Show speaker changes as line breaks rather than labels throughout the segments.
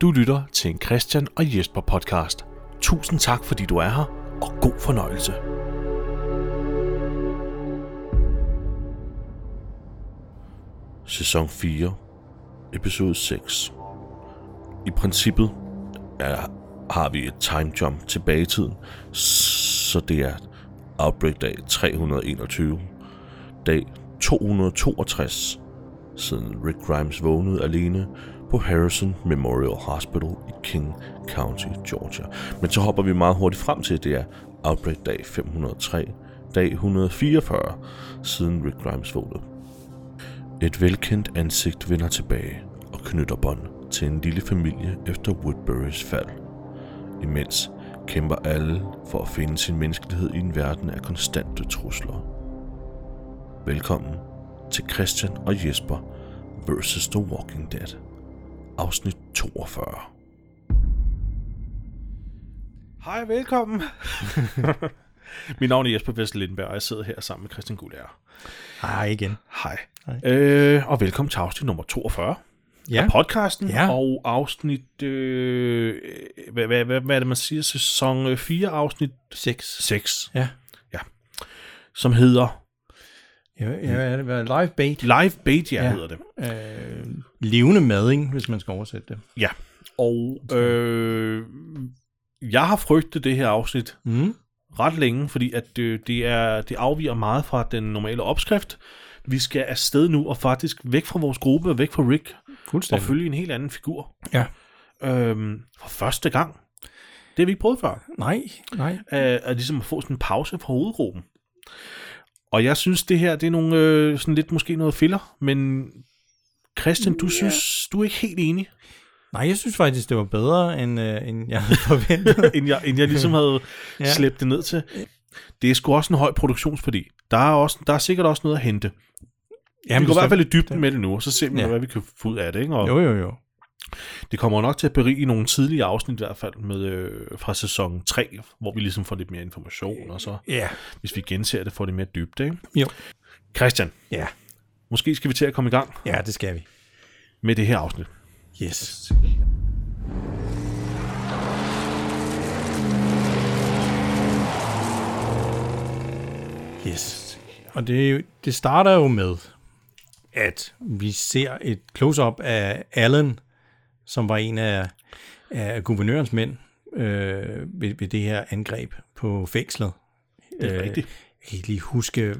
Du lytter til en Christian og Jesper podcast. Tusind tak, fordi du er her, og god fornøjelse.
sæson 4, episode 6. I princippet er, har vi et time jump tilbage i tiden, så det er Outbreak dag 321, dag 262, siden Rick Grimes vågnede alene på Harrison Memorial Hospital i King County, Georgia. Men så hopper vi meget hurtigt frem til, at det er Outbreak dag 503, dag 144, siden Rick Grimes vågnede. Et velkendt ansigt vender tilbage og knytter bånd til en lille familie efter Woodburys fald. Imens kæmper alle for at finde sin menneskelighed i en verden af konstante trusler. Velkommen til Christian og Jesper vs. The Walking Dead, afsnit 42.
Hej, velkommen. Mit navn er Jesper Vessel Lindberg, og jeg sidder her sammen med Christian Gulær.
Hej Ah, igen.
Hej.
Hej.
Øh, og velkommen til afsnit nummer 42 ja. af podcasten.
Ja.
Og afsnit... Øh, hvad, hvad, hvad, hvad er det, man siger? Sæson 4, afsnit
Seks.
6,
Ja.
som hedder
Ja, ja hvad er det? Hvad er det? Live bait.
Live Bait, ja,
Ja.
hedder det.
Øh, levende mading, hvis man skal oversætte det.
Ja, og øh, jeg har frygtet det her afsnit
Mm.
ret længe, fordi at øh, det, er, det afviger meget fra den normale opskrift. Vi skal afsted nu, og faktisk væk fra vores gruppe, og væk fra Rick, og
Fuldstændig.
følge en helt anden figur.
Ja.
Øhm, for første gang. Det har vi ikke prøvet før.
Nej, nej.
øh, at ligesom at få sådan en pause fra hovedgruppen. Og jeg synes, det her, det er nogle, øh, sådan lidt måske noget filler, men Christian, du synes, du er ikke helt enig,
Nej, jeg synes faktisk, det var bedre, end, øh, end jeg havde forventet.
end jeg, end jeg ligesom havde ja.
Ja.
slæbt det ned til. Det er sgu også en høj produktionsværdi. Der er, også, der er sikkert også noget at hente. Ja, vi går i hvert fald i dybden med det nu, og så ser vi, ja.
Ja.
hvad vi kan få ud af det. Ikke? Og
Jo, jo, jo.
Det kommer nok til at berige nogle tidlige afsnit i hvert fald med, øh, fra sæson 3, hvor vi ligesom får lidt mere information, og så
Ja.
hvis vi genser det, får det mere dybde. Ikke?
Jo.
Christian,
Ja.
måske skal vi til at komme i gang.
ja, det skal vi.
med det her afsnit.
Yes. Yes. Og det, det starter jo med, at vi ser et close-up af Allen, som var en af, af guvernørens mænd øh, ved, ved det her angreb på fængslet.
Det er
Øh,
rigtigt.
Jeg kan ikke lige huske,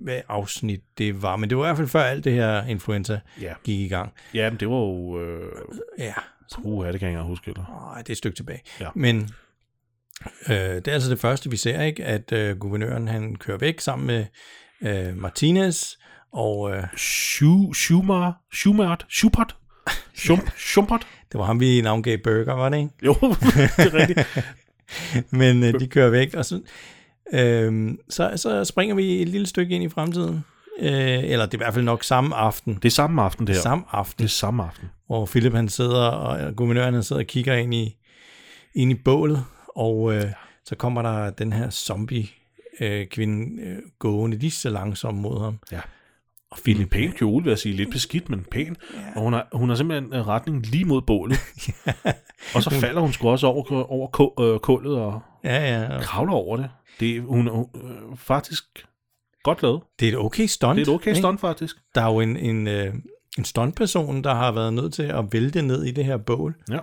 hvad afsnit det var, men det var i hvert fald før alt det her influenza
Ja.
gik i gang.
Ja, men det var jo... Øh,
Ja,
uh, det kan jeg ikke engang huske. Eller?
Nej, det er et stykke tilbage.
Ja.
Men øh, det er altså det første, vi ser, ikke? At øh, guvernøren, han kører væk sammen med øh, Martinez, og øh,
Schu, Schumer, Schumert, Schubert, Schump, Schumpert.
det var ham, vi navngav Burger, var det ikke?
Jo, det er rigtigt.
Men øh, de kører væk, og så, øh, så, så springer vi et lille stykke ind i fremtiden. Øh, eller det er i hvert fald nok samme aften.
Det er samme aften, det her.
Samme
Det
aften,
er samme aften.
hvor Philip han sidder, og eller guvernøren han sidder og kigger ind i, ind i bålet, og øh, så kommer der den her zombie øh, kvinde øh, gående lige så langsomt mod ham.
Ja. Og Philip pæn kjole, vil jeg sige. Lidt beskidt, men pæn. Og hun har, hun har simpelthen en retning lige mod bålet. Og så falder hun sgu også over, over ku- øh, kullet og
Ja, ja. og
kravler over det. det er- hun er øh, faktisk godt lavet.
Det er et okay stunt.
Det er et okay
ikke?
stunt, faktisk.
Der er jo en, en, øh, en stuntperson, der har været nødt til at vælte ned i det her bål.
Ja.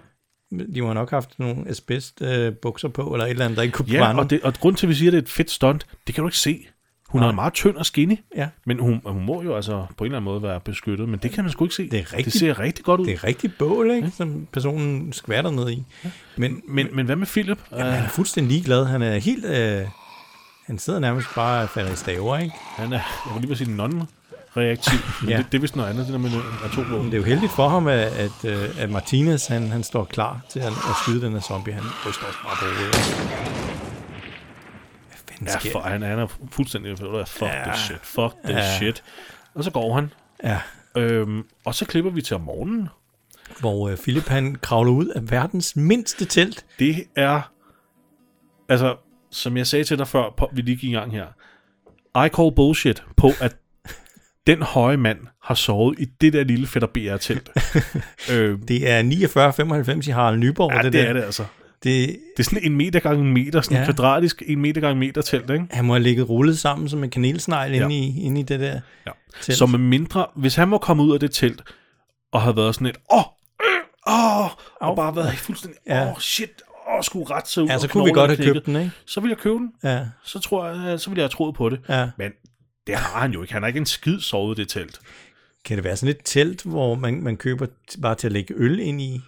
De må have nok have haft nogle asbest øh, bukser på, eller et eller andet, der ikke kunne
Ja,
brænde.
og, det, og grund til, at vi siger, at det er et fedt stunt, det kan du ikke se. Hun er meget tynd og skinny,
Ja.
men hun, hun må jo altså på en eller anden måde være beskyttet, men det kan man sgu ikke se.
Det er
det
rigtig-
ser rigtig godt ud.
det er rigtig bål, ikke? som personen skvatter ned i. Men
Men, men hvad med Philip? Øh,
Jamen, han er fuldstændig ligeglad. Han er helt... Øh, han sidder nærmest bare og falder i staver, ikke?
Han er, jeg var lige ved at sige, non-reaktiv, men
Ja.
det, det er vist noget andet, det der med atomvåben.
Det er jo heldigt for ham, at, at, øh, at Martinez, han, han står klar til at, at skyde den her zombie. Han ryster også bare på hovedet. Hvad fanden
Ja,
sker
for,
der?
han, han er fuldstændig, ved du hvad, fuck ja.
Ja.
this shit, fuck this
Ja.
shit. Og så går han,
Ja,
øhm, og så klipper vi til om morgenen.
hvor øh, Philip, han kravler ud af verdens mindste telt.
Det er, altså, som jeg sagde til dig før, på, vi lige gik i gang her. I call bullshit på, at den høje mand har sovet i det der lille fætter BR-telt. øh,
Det er 49,95 i Harald Nyborg.
ja, det,
der.
er det altså.
det.
Det er sådan en meter gange en meter, sådan ja.
Ja.
en kvadratisk en meter gange en meter telt, ikke?
Han må have ligget rullet sammen som en kanelsnegl ja. inde, i, inde i det der.
Ja.
Telt.
Så med mindre, hvis han var kommet ud af det telt, og havde været sådan et, åh, øh, åh, og bare været fuldstændig, åh,
Ja.
ja. shit, åh, skulle ret sig ud.
Ja, så
og
kunne vi
knoglen
godt have
knækket,
købt den, ikke?
Så ville jeg købe den.
Ja,
Så, tror jeg, øh, så ville jeg have troet på det.
ja.
Men det har han jo ikke. Han har ikke en skid sovet i det telt.
Kan det være sådan et telt, hvor man, man køber t- bare til at lægge øl ind i?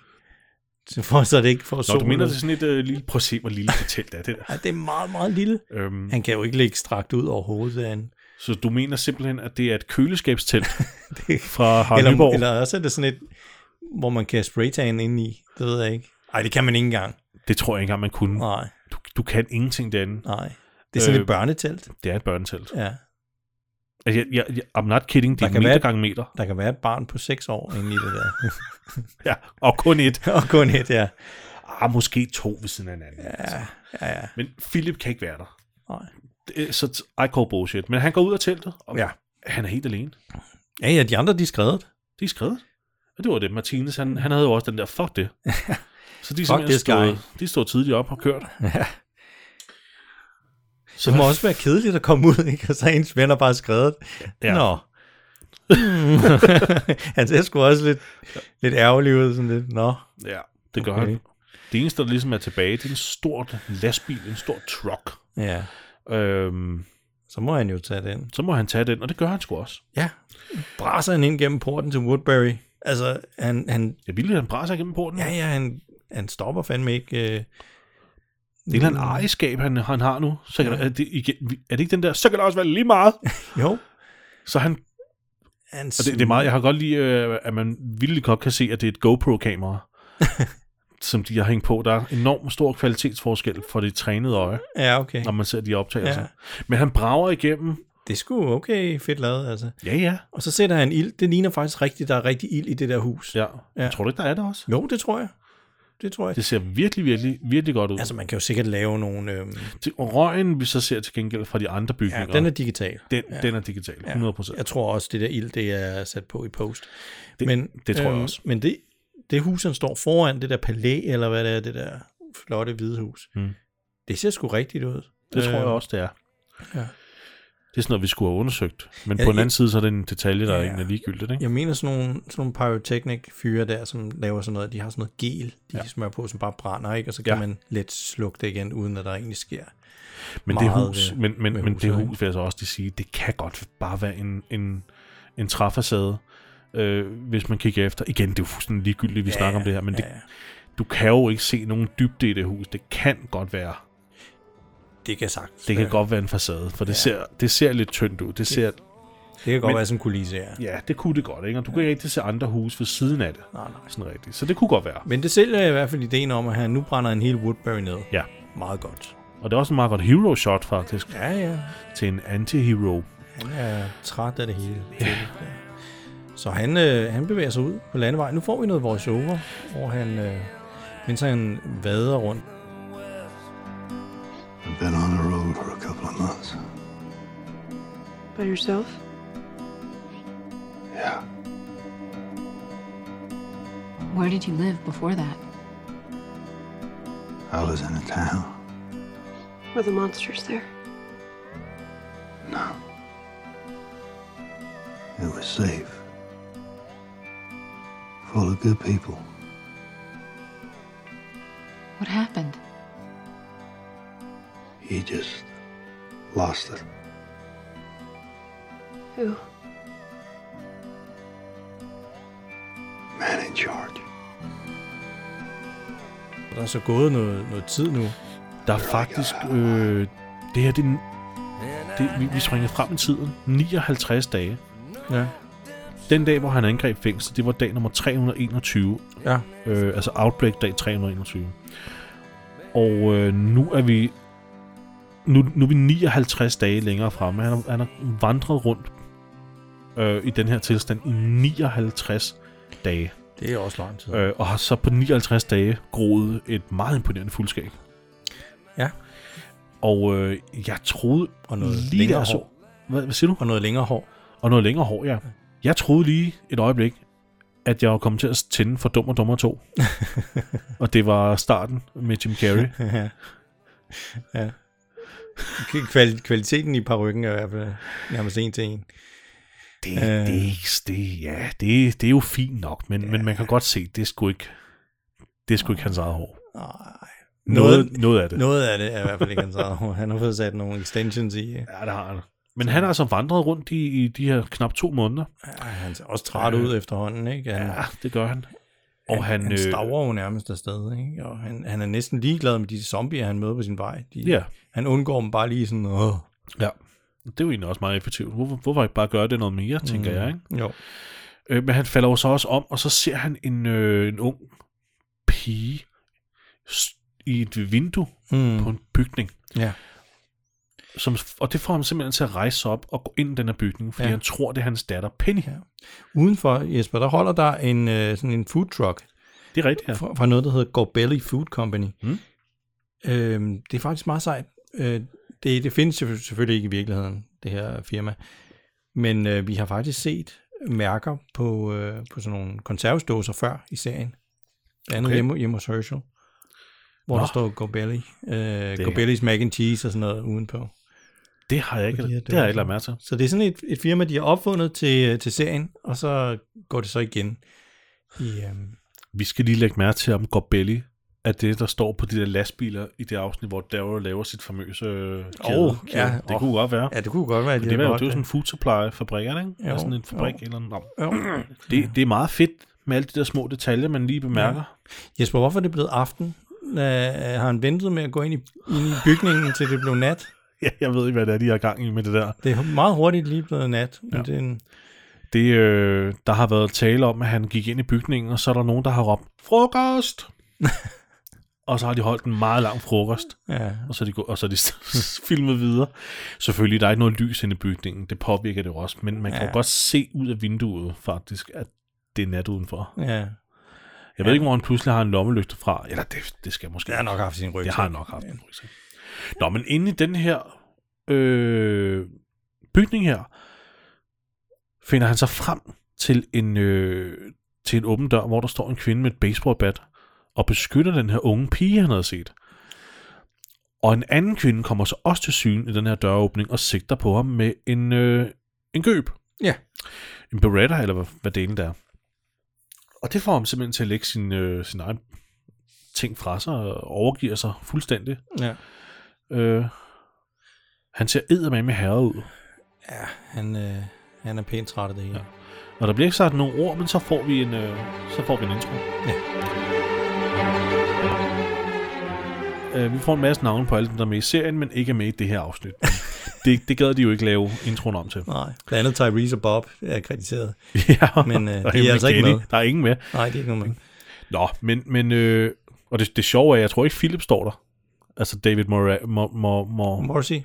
Så, for, så det ikke får
Nå, du
solen.
mener,
ud?
det er sådan et øh, lille, prøv at se, hvor lille det telt er, det der.
Ja, det er meget, meget lille.
Øhm,
Han kan jo ikke ligge strakt ud overhovedet af en.
så du mener simpelthen, at det er et køleskabstelt
Det-
fra Harald
Eller,
Nyborg?
eller også er det sådan et, hvor man kan spraytan ind i. Det ved jeg ikke. Nej, det kan man ikke engang.
Det tror jeg ikke engang, man kunne.
Nej,
Du, du kan ingenting derinde.
nej. Det er sådan
Øh,
et børnetelt.
Det er et børnetelt.
Ja.
Altså, Jeg, jeg, jeg, I'm not kidding, det
Der
er
kan
meter
være-
gange meter.
Der kan være et barn på 6 år inde i det der.
Ja, og kun et.
og kun et, ja.
Ah, måske to ved siden af hinanden. Ja.
Ja, ja, ja.
Men Philip kan ikke være der.
Nej.
Det er- Så t- I call bullshit. Men han går ud af teltet, og
Ja.
han er helt alene.
Ja, ja, de andre, de er skrevet.
De er skrevet. Og det var det. Martinez, han, han havde jo også den der, fuck det. Så de, er simpelthen
this
stået, de stod tidligt op og kørt.
Ja.
Så
Det må også være kedeligt at komme ud, ikke? Og så er ens venner bare skrevet.
Ja.
Ja. Nå. Hmm. Han ser sgu også lidt, lidt ærgerlig ud, sådan lidt. Nå.
Ja, det gør
Okay.
okay. han. Det eneste, der ligesom er tilbage, det er en stor lastbil, en stor truck.
Ja,
Øhm,
så må han jo tage den.
så må han tage den, og det gør han sgu også.
Ja. Braser han ind gennem porten til Woodbury. Altså, han, han,
Jeg ville, han brænder sig igennem porten.
ja,
Ja,
ja, han, han stopper fandme ikke. Øh,
det er et eller andet ejerskab, han, han har nu. Så kan ja. der, er, det, igen, er det ikke den der, så kan det også være lige meget.
jo.
Så han,
Han
og det, det er meget, jeg har godt lige, øh, at man vildt godt kan se, at det er et GoPro-kamera, som de har hængt på. Der er enormt stor kvalitetsforskel for det trænede øje,
Ja, okay.
når man ser de optagelser.
Ja.
Ja. Men han brager igennem.
Det er sgu okay fedt lavet, altså.
Ja, ja.
Og så sætter han ild. Det ligner faktisk rigtigt, der er rigtig ild i det der hus.
ja.
Ja.
ja. Tror du ikke, der er det også?
Jo, det tror jeg. Det tror jeg.
Det ser virkelig, virkelig, virkelig godt ud.
Altså, man kan jo sikkert lave nogle... Øh,
Det- Og røgen, vi så ser til gengæld fra de andre
ja,
bygninger,
den er digital.
den, ja. den er digital, 100%.
Jeg tror også, det der ild, det er sat på i post.
Det- det tror jeg også.
Men det, det hus, han står foran, det der palæ, eller hvad det er, det der flotte hvide hus,
Mm.
det ser sgu rigtigt ud. Øhm,
Det tror jeg også, det er.
ja.
Det er sådan noget, vi skulle have undersøgt. Men
Ja,
på den
jeg-
anden side, så er det en detalje, der
Ja.
ja. ikke er ligegyldigt. Ikke?
Jeg mener sådan nogle, sådan nogle pyrotechnic-fyre der, som laver sådan noget, de har sådan noget gel, de ja. smører på, som bare brænder, ikke? og så kan ja.
Ja.
man let slukke det igen, uden at der egentlig sker.
Men det
meget
hus,
ved-
men, men,
med
men
huset,
det
ikke?
hus vil jeg så også lige sige, det kan godt bare være en, en, en træfacade, øh, hvis man kigger efter. Igen, det er jo fuldstændig ligegyldigt, vi ja, snakker om det her, men ja.
ja,
det,
ja.
du kan jo ikke se nogen dybde i det hus. Det kan godt være.
det kan sagt.
Det kan godt være en facade, for det, ja. ser, det ser lidt tyndt ud. Det ser,
det kan godt
men-
være sådan en kulisse, ja.
ja, det kunne det godt, ikke? Og du kan ikke rigtig se andre hus ved siden af det.
Nej, nej.
Sådan rigtigt. Så det kunne godt være.
Men det sælger i hvert fald ideen om, at han nu brænder en hel Woodbury ned.
Ja.
Meget godt.
Og det er også en meget godt hero shot faktisk
Ja, ja.
til en anti-hero.
Han er træt af det hele. Ja. Så han, øh, han bevæger sig ud på landevejen. Nu får vi noget voiceover, hvor han, øh, mens han vader rundt.
I've been on the road for a couple of months.
By yourself?
Yeah.
Where did you live before that?
I was in a town.
Were the monsters there?
No. It was safe. Full of good people.
What happened?
He just lost it.
Who?
Man in charge.
Der er så gået noget, noget tid nu.
Der er faktisk... Øh, det her, det, er en- det, vi, vi springer frem i tiden. 59 dage.
Ja.
Den dag, hvor han angreb fængslet, det var dag nummer 321.
Ja.
Øh, altså Outbreak dag 321. Og øh, nu er vi... Nu, nu er vi 59 dage længere fremme. Han har, han har vandret rundt øh, i den her tilstand i 59 dage.
Det er også lang tid.
øh, og har så på 59 dage groet et meget imponerende fuldskab.
Ja.
Og øh, jeg troede
Og noget
lige
længere
der så...
hår.
Hvad, hvad siger du?
Og noget længere hår.
Og noget længere hår, ja. Jeg troede lige et øjeblik, at jeg var kommet til at tænde for Dum og Dummer 2. og det var starten med Jim Carrey.
ja. ja. Kval- kvaliteten i parrykken er i hvert fald nærmest en til en.
Det, det, er ikke, det, ja, det, det er jo fint nok, men, ja. men man kan godt se, det er sgu ikke, det er sgu ikke hans eget hår. Noget, noget, noget af det.
Noget af det er i hvert fald ikke hans eget hår. Han har fået sat nogle extensions i. Ja,
Ja, det har han. Men han har altså vandret rundt i, i de her knap to måneder.
han ser også træt ud efterhånden, ikke? Han,
Ja, det gør han. Og han,
han,
øh,
han staver jo nærmest afsted, ikke? Og han, han er næsten ligeglad med de zombier, han møder på sin vej. De,
Ja.
Han undgår dem bare lige sådan, Åh.
ja, det er jo egentlig også meget effektivt. Hvorfor, hvorfor ikke bare gøre det noget mere, tænker
Mm.
jeg, ikke?
Jo.
Øh, men han falder jo så også om, og så ser han en, øh, en ung pige s- i et vindue mm. på en bygning.
Ja.
Som, og det får ham simpelthen til at rejse sig op og gå ind i den her bygning, fordi
Ja.
ja. han tror, det er hans datter Penny. Ja.
Udenfor, Jesper, der holder der en, øh, sådan en food truck
Det er rigtigt, ja.
fra, fra noget, der hedder Gorbelli Food Company.
Mm.
Øhm, det er faktisk meget sejt. Øh, det, det findes selvfø- selvfølgelig ikke i virkeligheden, det her firma. Men øh, vi har faktisk set mærker på, øh, på sådan nogle konservesdåser før i serien. Blandt andet okay.
Okay.
hjemme, hjemme hos Herschel, hvor Nå. der
Nå.
står Gorbelli. Øh, Gorbellis mac and cheese og sådan noget udenpå.
Det har jeg ikke,
Fordi at det
det har
var
jeg ikke lagt
sådan-
mærke til.
Så det er sådan et, et firma, de har opfundet til, øh, til serien, og så går det så igen i, øhm,
Vi skal lige lægge mærke til, om Gorbelli er det, der står på de der lastbiler i det afsnit, hvor Daryl laver sit famøse øh, kæde.
Åh,
kæde.
ja,
det
åh.
kunne godt være.
Ja, det kunne godt være, at de
det, var
havde
jo, det er jo
beholdt
sådan en food supply fabrik, er det ikke?
Jo,
Jo, sådan en fabrik
jo.
eller noget. Nå.
Jo.
Det, det er meget fedt med alle de der små detaljer, man lige bemærker.
Jesper, hvorfor er det blevet aften? Øh, har han ventet med at gå ind i, ind i bygningen, til det blev nat?
Ja. Jeg ved ikke, hvad det er, de har gang i med det der.
Det er meget hurtigt lige blevet nat. Men ja. det er en,
Det, øh, der har været tale om, at han gik ind i bygningen, og så er der nogen, der har råbt, frokost! og så har de holdt en meget lang frokost,
ja,
og så er de, gå- og så er de filmet videre. Selvfølgelig, der er ikke noget lys inde i bygningen, det påvirker det jo også, men man kan
Ja.
jo godt se ud af vinduet faktisk, at det er nat udenfor.
ja.
Jeg ved ikke, hvor han pludselig har en lommelygte fra. Eller det, det skal jeg måske
Det har nok haft sin rygsæk.
Det har han nok haft. en rygsæk. Nå, men inde i den her øh, bygning her, finder han sig frem til en, øh, til en åben dør, hvor der står en kvinde med et baseballbat og beskytter den her unge pige, han havde set. Og en anden kvinde kommer så også til syne i den her døråbning og sigter på ham med en, øh, en køb.
Ja.
En beretta, eller hvad, hvad delen der er. Og det får ham simpelthen til at lægge sin, øh, sin egen ting fra sig og overgiver sig fuldstændig.
Ja.
Øh, han ser eddermame herre ud,
Han, øh, han er pænt træt af det hele. Ja.
og der bliver ikke sagt nogen ord, men så får vi en, øh, så får vi en intro.
Ja.
Øh, vi får en masse navne på alle dem, der er med i serien, men ikke er med i det her afsnit. det, det gad de jo ikke lave introen om til.
Nej, blandt andet Tyrese og Bob er kritiseret.
ja,
Men, øh,
der
de er
nemlig
altså ikke
Kenny.
med.
Der er ingen med.
Nej, det er ikke noget med.
Nå, men, men øh, og det, det sjove er, jeg tror ikke, Philip står der. Altså David Mora- Mo- Mo- Mo-
Morrissey.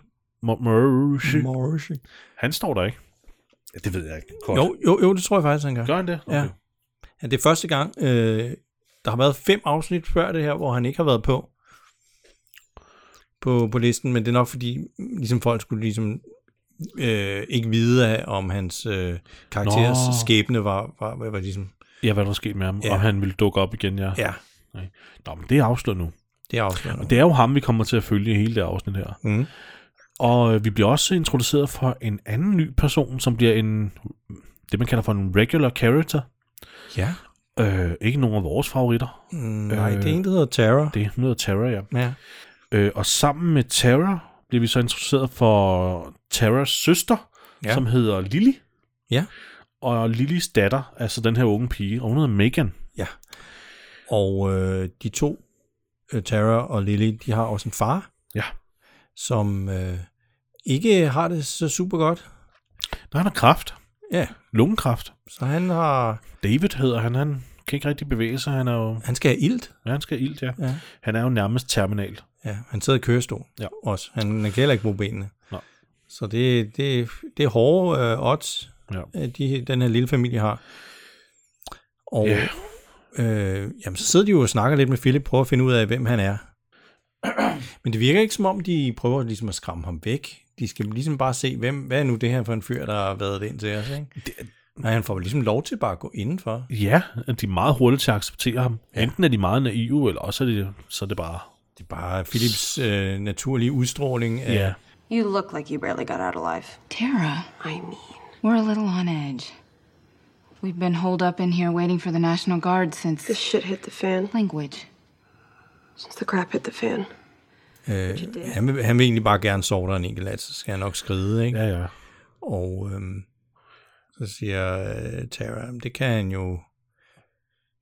Mo- Morrissey.
Morrissey.
Han står der ikke. Ja, det ved jeg ikke. Kort.
Jo, jo, jo, det tror jeg faktisk, han gør.
Gør han det? Okay.
Ja. ja, det er første gang. Øh, der har været fem afsnit før det her, hvor han ikke har været på på, på listen, men det er nok fordi, mm, ligesom folk skulle ligesom øh, ikke vide af, om hans øh, karakteres
Nå.
skæbne var, var, var, var ligesom,
Ja, hvad der var sket med ham,
Ja.
ja. og han ville dukke op igen, ja.
ja,
Nå, men det er afsløret nu.
det er afslørende.
Det er jo ham, vi kommer til at følge i hele det afsnit her.
Mm.
Og øh, vi bliver også introduceret for en anden ny person, som bliver en, det man kalder for en regular character.
Ja,
Øh, ikke nogen af vores favoritter.
mm, nej,
Øh.
det er en, der hedder Terror.
Det er noget Terra, ja.
Ja.
Øh, og sammen med Terra bliver vi så introduceret for Terras søster,
Ja.
ja. som hedder Lily.
Ja.
Og Lillys datter, altså den her unge pige, og hun hedder Megan.
ja. Og øh, de to, øh, Terror og Lily, de har også en far,
Ja.
som øh, ikke har det så super godt.
Nej, han har kraft.
Ja,
Lungekræft.
Så han har
David hedder han. Han kan ikke rigtig bevæge sig. Han er jo,
han skal have ilt.
ja, han skal have ilt, ja.
Ja.
Han er jo nærmest terminal.
Ja, han sidder i kørestol
Ja.
også. Han, han kan heller ikke bruge benene.
Nå.
Så det, det, det er hårde øh, odds,
Ja.
øh, de, den her lille familie har. Og
Ja.
øh, jamen, så sidder de jo og snakker lidt med Philip, prøver at finde ud af, hvem han er. Men det virker ikke som om, de prøver ligesom at skræmme ham væk. de skal ligesom bare se, hvem, hvad er nu det her for en fyr, der har været ind til os, ikke?
Det-
Nej, han får vel ligesom lov til bare at gå indenfor.
Ja, at de er meget hurtige til at acceptere ham.
Ja.
Ja. Enten er de meget naive, eller også er det, så er det bare...
Det er bare Philips øh, naturlige udstråling af,
Ja.
You look like you barely got out alive.
Tara,
I mean,
we're a little on edge. We've been holed up in here waiting for the National Guard since.
this shit hit the fan
Language.
since the crap hit the fan.
Øh, han, vil, han vil egentlig bare gerne sove der en enkelt nat, så skal han nok skride, ikke?
Ja, ja.
Og øhm, så siger øh, Tara, "Jamen, det kan han jo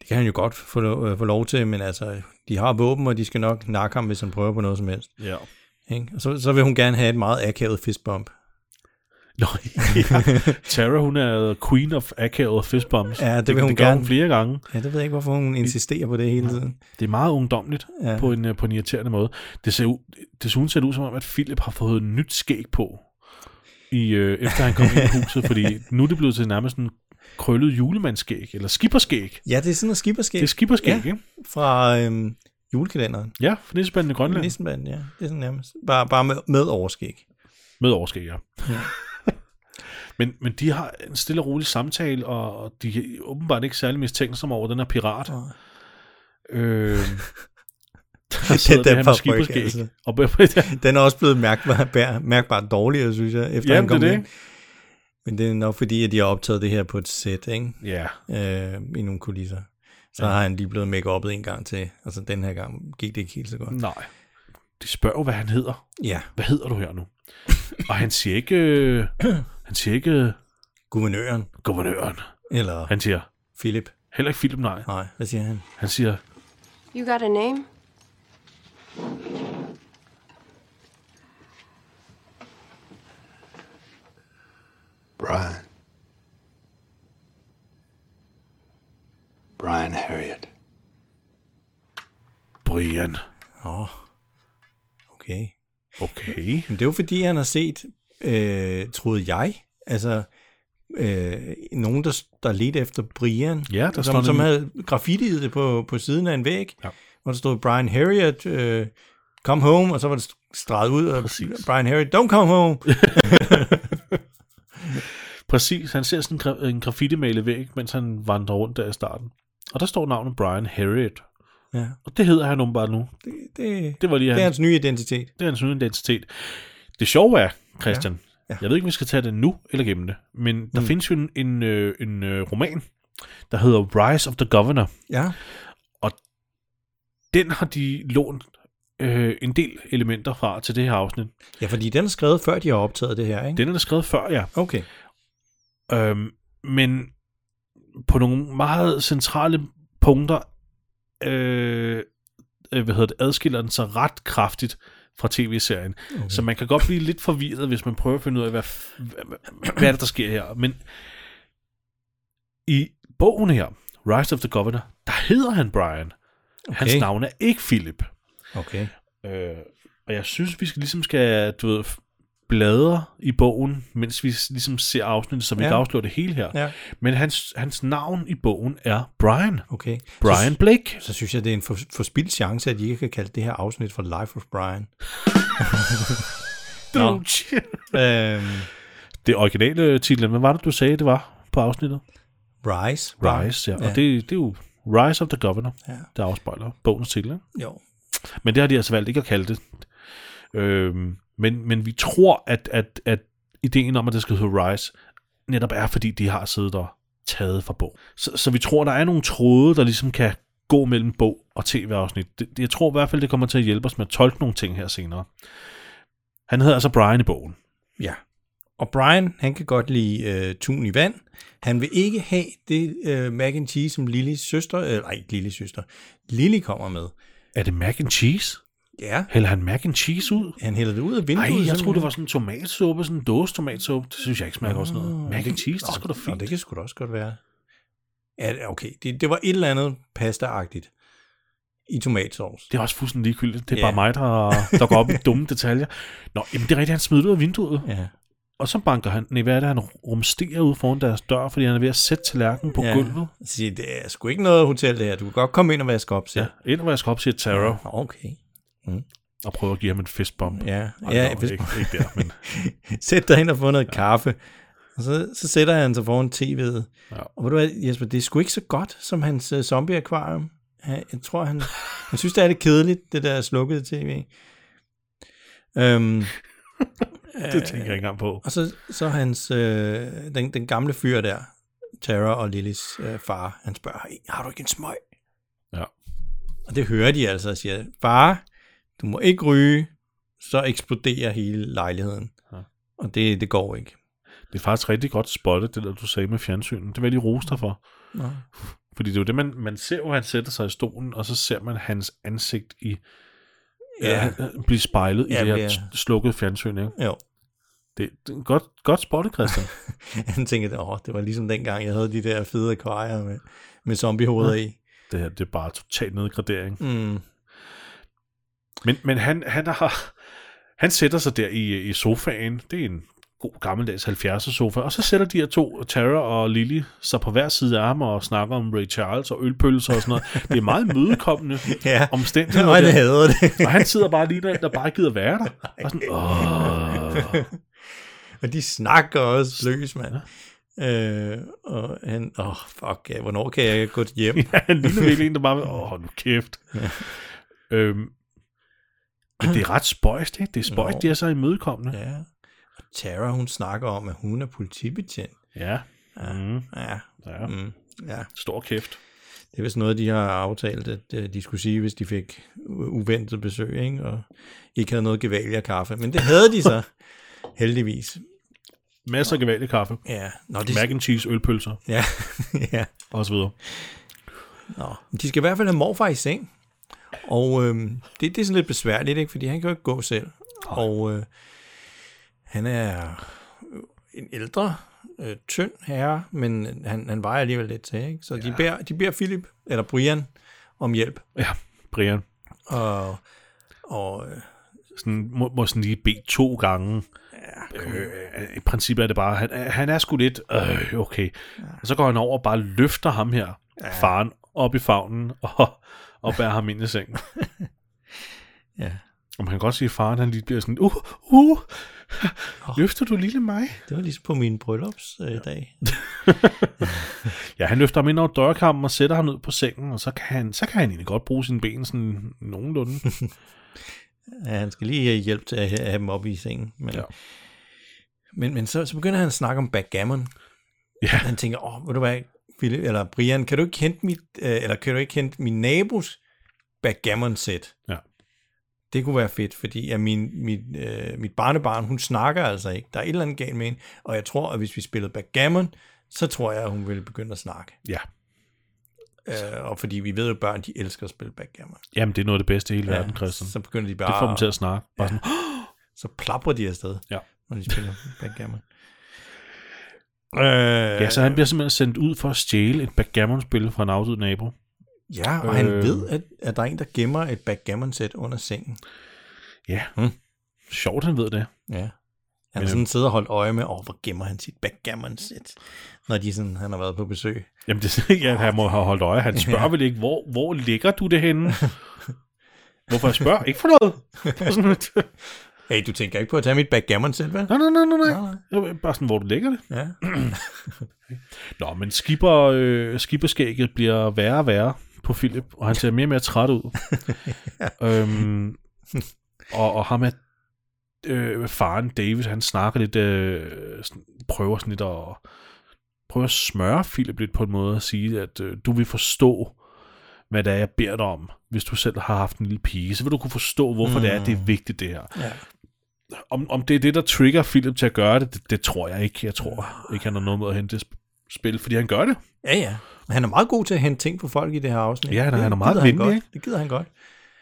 det kan han jo godt få, lo- øh, få lov til, men altså, de har våben, og de skal nok nakke ham, hvis han prøver på noget som helst.
ja.
Ikke? Og så, så vil hun gerne have et meget akavet fistbump.
Nå, ja. Tara, hun er queen of akavede fistbumps.
Ja, det vil hun
det gør
gerne.
hun flere gange.
Ja, det ved jeg ikke, hvorfor hun insisterer på det hele tiden.
Det er meget ungdomligt
Ja.
ja. på, en, øh, på en irriterende måde. Det ser ud, desuden ser det ud som om, at Philip har fået nyt skæg på, i, øh, efter han kom ind i huset, fordi nu er det blevet til nærmest en krøllet julemandsskæg, eller skipperskæg.
Ja, det er sådan noget skipperskæg
Det er skipperskæg,
Ja.
ja. ikke?
fra øhm, julekalenderen.
Ja, for nissebanden i Grønland.
Nissenbanden, ja. Det er sådan nærmest. Bare, bare med, med overskæg.
Med overskæg, ja. men, men de har en stille og rolig samtale, og de er åbenbart ikke særlig mistænksomme over den her pirat.
Nej.
Øh, der sidder
den
det her med
fabrik,
skipperskæg.
altså.
Altså. Og, ja,
Den er også blevet mærkbart, bær- mærkbart dårligere, synes jeg, efter
Jamen,
han kom
det er det.
ind. Men det er nok fordi, at de har optaget det her på et sæt, ikke?
ja,
Øh, I nogle kulisser. Så ja. har han lige blevet make en gang til. Altså den her gang gik det ikke helt så godt.
nej. De spørger jo, hvad han hedder.
Ja,
Hvad hedder du her nu? og han siger ikke, øh, han siger ikke øh,
guvernøren.
guvernøren.
Eller han.
Han siger,
Philip.
heller ikke Philip, nej.
Nej, hvad siger han?
Han siger,
You got a name?
Brian. Brian Harriet.
Brian.
Åh, okay.
Okay.
Men det er jo fordi, han har set, øh, troede jeg, altså øh, nogen, der, der ledte efter Brian,
Ja, der står
som, som
nemlig-
havde graffitiet det på, på siden af en væg,
Ja.
hvor der stod Brian Harriet, øh, come home, og så var det streget ud, og Brian Harriet, don't come home.
Præcis, han ser sådan en gra- en graffiti-malet væg, mens han vandrer rundt der i starten. Og der står navnet Brian Harriet.
ja,
Og det hedder han åbenbart nu.
det, det,
Det var lige
det er
hans,
hans nye identitet.
det er hans nye identitet. Det sjove er, Christian, ja. Ja. jeg ved ikke, om vi skal tage det nu eller gennem det, men der findes jo en, en, øh, en øh, roman, der hedder Rise of the Governor.
Ja,
Den har de lånt øh, en del elementer fra til det her afsnit.
ja fordi den er skrevet, før de har optaget det her, ikke?
Den er der skrevet før, ja.
Okay,
Øhm, men på nogle meget centrale punkter, øh, øh, hvad hedder det, adskiller den sig ret kraftigt fra tv-serien. Okay. Så man kan godt blive lidt forvirret, hvis man prøver at finde ud af, hvad, f- hvad, hvad er det, der sker her. Men i bogen her, Rise of the Governor, der hedder han Brian. Okay. Hans
Okay.
navn er ikke Philip.
okay.
Øh, og jeg synes, vi skal, ligesom skal, du ved, bladre i bogen, mens vi s- ligesom ser afsnittet, så vi
Ja.
ja. kan afsløre det hele her.
Ja.
Men hans, hans navn i bogen er Brian.
Okay.
Brian Blake.
så synes jeg, det er en for, forspildt chance, at I ikke kan kalde det her afsnit for Life of Brian. Nå. øhm,
Det originale titel, hvad var det, du sagde, det var på afsnittet?
Rise.
Rise, ja. ja. Og det, det er jo Rise of the Governor,
Ja.
ja. der afspejler bogens titel. Ikke?
Jo.
Men det har de altså valgt ikke at kalde det. Øhm, men, men vi tror, at, at, at ideen om, at det skal hedde Rise, netop er, fordi de har siddet og taget fra bog. Så, så vi tror, der er nogle tråde, der ligesom kan gå mellem bog og tv-afsnit. Det, det- jeg tror i hvert fald, det kommer til at hjælpe os med at tolke nogle ting her senere. Han hedder altså Brian i bogen.
Ja. Og Brian, han kan godt lide øh, tun i vand. Han vil ikke have det øh, mac and cheese, som Lillys søster, øh, nej, ikke Lillys søster, Lilly kommer med.
Er det mac and cheese?
Ja.
Hælder han mac and cheese ud?
Han hælder det ud af vinduet.
Nej, jeg troede, det var sådan en tomatsuppe, sådan en dåse tomatsuppe. Det synes jeg ikke smager godt sådan noget. Mac and cheese, det skulle da
Nå,
fint.
det kan sgu da også godt være. Ja, okay, det, det var et eller andet pasta-agtigt i tomatsovs.
Det er også fuldstændig ligegyldigt. Det er
Ja.
yeah. bare mig, der, der går op i dumme detaljer. Nå, jamen det er rigtigt, han smider det ud af vinduet.
Ja.
Og så banker han, nej, hvad er det, han rumsterer ud foran deres dør, fordi han er ved at sætte tallerkenen på ja. gulvet.
Så siger, jeg, det er sgu ikke noget hotel, det her. Du kan godt komme ind og vaske op, siger
Ja, ind og vaske op, siger Tara.
jeg. Nå, Okay.
og prøver at give ham en fistbump.
Ja,
Ej,
ja
nå,
hvis,
ikke, ikke der, men
sæt dig ind og få noget ja. kaffe. Og så, så sætter han sig foran tv'et.
Ja.
Ja. Og ved du hvad, Jesper, det er sgu ikke så godt som hans uh, zombie-akvarium. Han, jeg tror, han, han synes, det er lidt kedeligt, det der slukkede tv. Øhm,
det tænker jeg ikke engang på.
og så, så hans, øh, den, den gamle fyr der, Tara og Lillys øh, far, han spørger, "Hey, har du ikke en smøg?
Ja.
Og det hører de altså og siger, far, du må ikke ryge, så eksploderer hele lejligheden.
Ja.
Ja. Og det, det går ikke.
Det er faktisk rigtig godt spottet, det der du sagde med fjernsynet. Det var lige roste dig for.
Nå.
Fordi det er jo det, man, man ser jo, at han sætter sig i stolen, og så ser man hans ansigt i
Ja.
ja. øh, blive spejlet ja,
Ja,
i det her
bliver-
ja. slukkede fjernsyn. Ikke?
Jo.
Det, det er godt, godt spottet, Christian.
Han tænker, åh, det var ligesom dengang, jeg havde de der fede akvarier med, med zombiehoveder ja. i.
det her det er bare total nedgradering.
Mm.
Men, men han, han, har, han sætter sig der i, i sofaen. Det er en god gammeldags 70'er sofa. Og så sætter de her to, Tara og Lily, sig på hver side af ham og snakker om Ray Charles og ølpølser og sådan noget. Det er meget mødekommende
Ja.
omstændigheder.
Nej,
der.
det havde det.
Og han sidder bare lige der, der bare ikke gider være der. Og sådan, Åh.
Og de snakker også løs, mand. Øh, og han, åh, oh, fuck, ja, hvornår kan jeg gå hjem?
Ja, han ligner virkelig en, der bare, åh, hold nu kæft. øhm, men det er ret spøjst, ikke? Det er spøjst,
Jo.
de er så imødekommende.
ja. Og Tara, hun snakker om, at hun er politibetjent.
Ja. ja. Mm,
Ja,
ja.
mm, ja.
Stor kæft.
Det er vist noget, de har aftalt, at øh, de skulle sige, hvis de fik u- uventet besøg, ikke? og ikke havde noget gevalje kaffe. Men det havde de så, heldigvis.
Masser af gevaldig kaffe.
Ja, Nå, det,
Mac and cheese, ølpølser
ja, ja.
og så videre.
Nå. De skal i hvert fald have morfar i seng. Og øhm, det, det er sådan lidt besværligt, ikke? fordi han kan jo ikke gå selv. Og øh, han er øh, en ældre, øh, tynd herre, men han, han vejer alligevel lidt til. Ikke? Så ja. de, beder, de beder Philip, eller Brian, om hjælp.
Ja, Brian.
Og, og øh,
Sådan, må, må sådan lige bede to gange. Øh, I princippet er det bare, han, han er sgu lidt, øh, okay. Og så går han over og bare løfter ham her, faren, op i favnen og, og bærer ham ind i sengen.
ja,
Og man kan godt sige, at faren han lige bliver sådan, uh, uh, løfter du lille mig?
det var ligesom på min bryllupsdag. Øh,
Ja, han løfter ham ind over dørkampen og sætter ham ned på sengen, og så kan han, så kan han egentlig godt bruge sine ben sådan nogenlunde.
ja. Han skal lige have hjælp til at have have dem op i sengen. Men,
Ja.
ja. men, men så, så begynder han at snakke om backgammon.
ja,
Han tænker, åh, oh, ved du hvad, Philip, eller Brian, kan du ikke hente mit, øh, eller kan du ikke hente min nabos backgammon-sæt?
Ja.
Det kunne være fedt, fordi ja, min, mit, øh, mit barnebarn, hun snakker altså ikke. Der er et eller andet galt med hende, og jeg tror, at hvis vi spillede backgammon, så tror jeg, at hun ville begynde at snakke.
ja.
Øh, og fordi vi ved jo, at børn, de elsker at spille backgammon.
Jamen, det er noget af det bedste i hele ja, verden, Christian.
så begynder de bare,
Det får dem til at snakke. Bare sådan,
så plapper de afsted,
Ja.
når de spiller backgammon. Øh,
ja, så han bliver simpelthen sendt ud for at stjæle et backgammon-spil fra en afdød nabo.
Ja, og øh... han
Øh.
ved, at, at der er en, der gemmer et backgammon-sæt under sengen.
Ja,
Hmm.
sjovt han ved det.
Ja. Han
Men,
har sådan siddet og holdt øje med, over, hvor gemmer han sit backgammon-sæt, når de sådan, han har været på besøg.
Jamen, det, ja, han må have holdt øje. Han spørger ja. vel ikke, hvor, hvor ligger du det henne? Hvorfor jeg spørger? Ikke for noget. Bare sådan, lidt.
Hey, du tænker ikke på at tage mit backgammon-sæt, vel?
nej, nej, nej, nej, nej.
Nej, nej.
Det var Bare sådan, hvor du ligger det.
Ja.
Nå, men skipper, øh, skipperskægget bliver værre og værre på Philip, og han ser mere og mere træt ud. øhm, og, og ham er øh, faren David, han snakker lidt, øh, sådan- prøver sådan lidt at, prøver at smøre Philip lidt på en måde og sige, at øh, du vil forstå, hvad det er, jeg beder dig om, hvis du selv har haft en lille pige, så vil du kunne forstå, hvorfor mm. det er, det er vigtigt det her.
Ja.
Om, om det er det, der trigger Philip til at gøre det, det, det tror jeg ikke. Jeg tror ikke, han har noget med at hente det sp- spil, fordi han gør det.
ja, ja. Men Han er meget god til at hente ting på folk i det her afsnit.
Ja, han er-
Det
han er meget
gider han
venlig,
godt.
ikke?
Det gider han godt.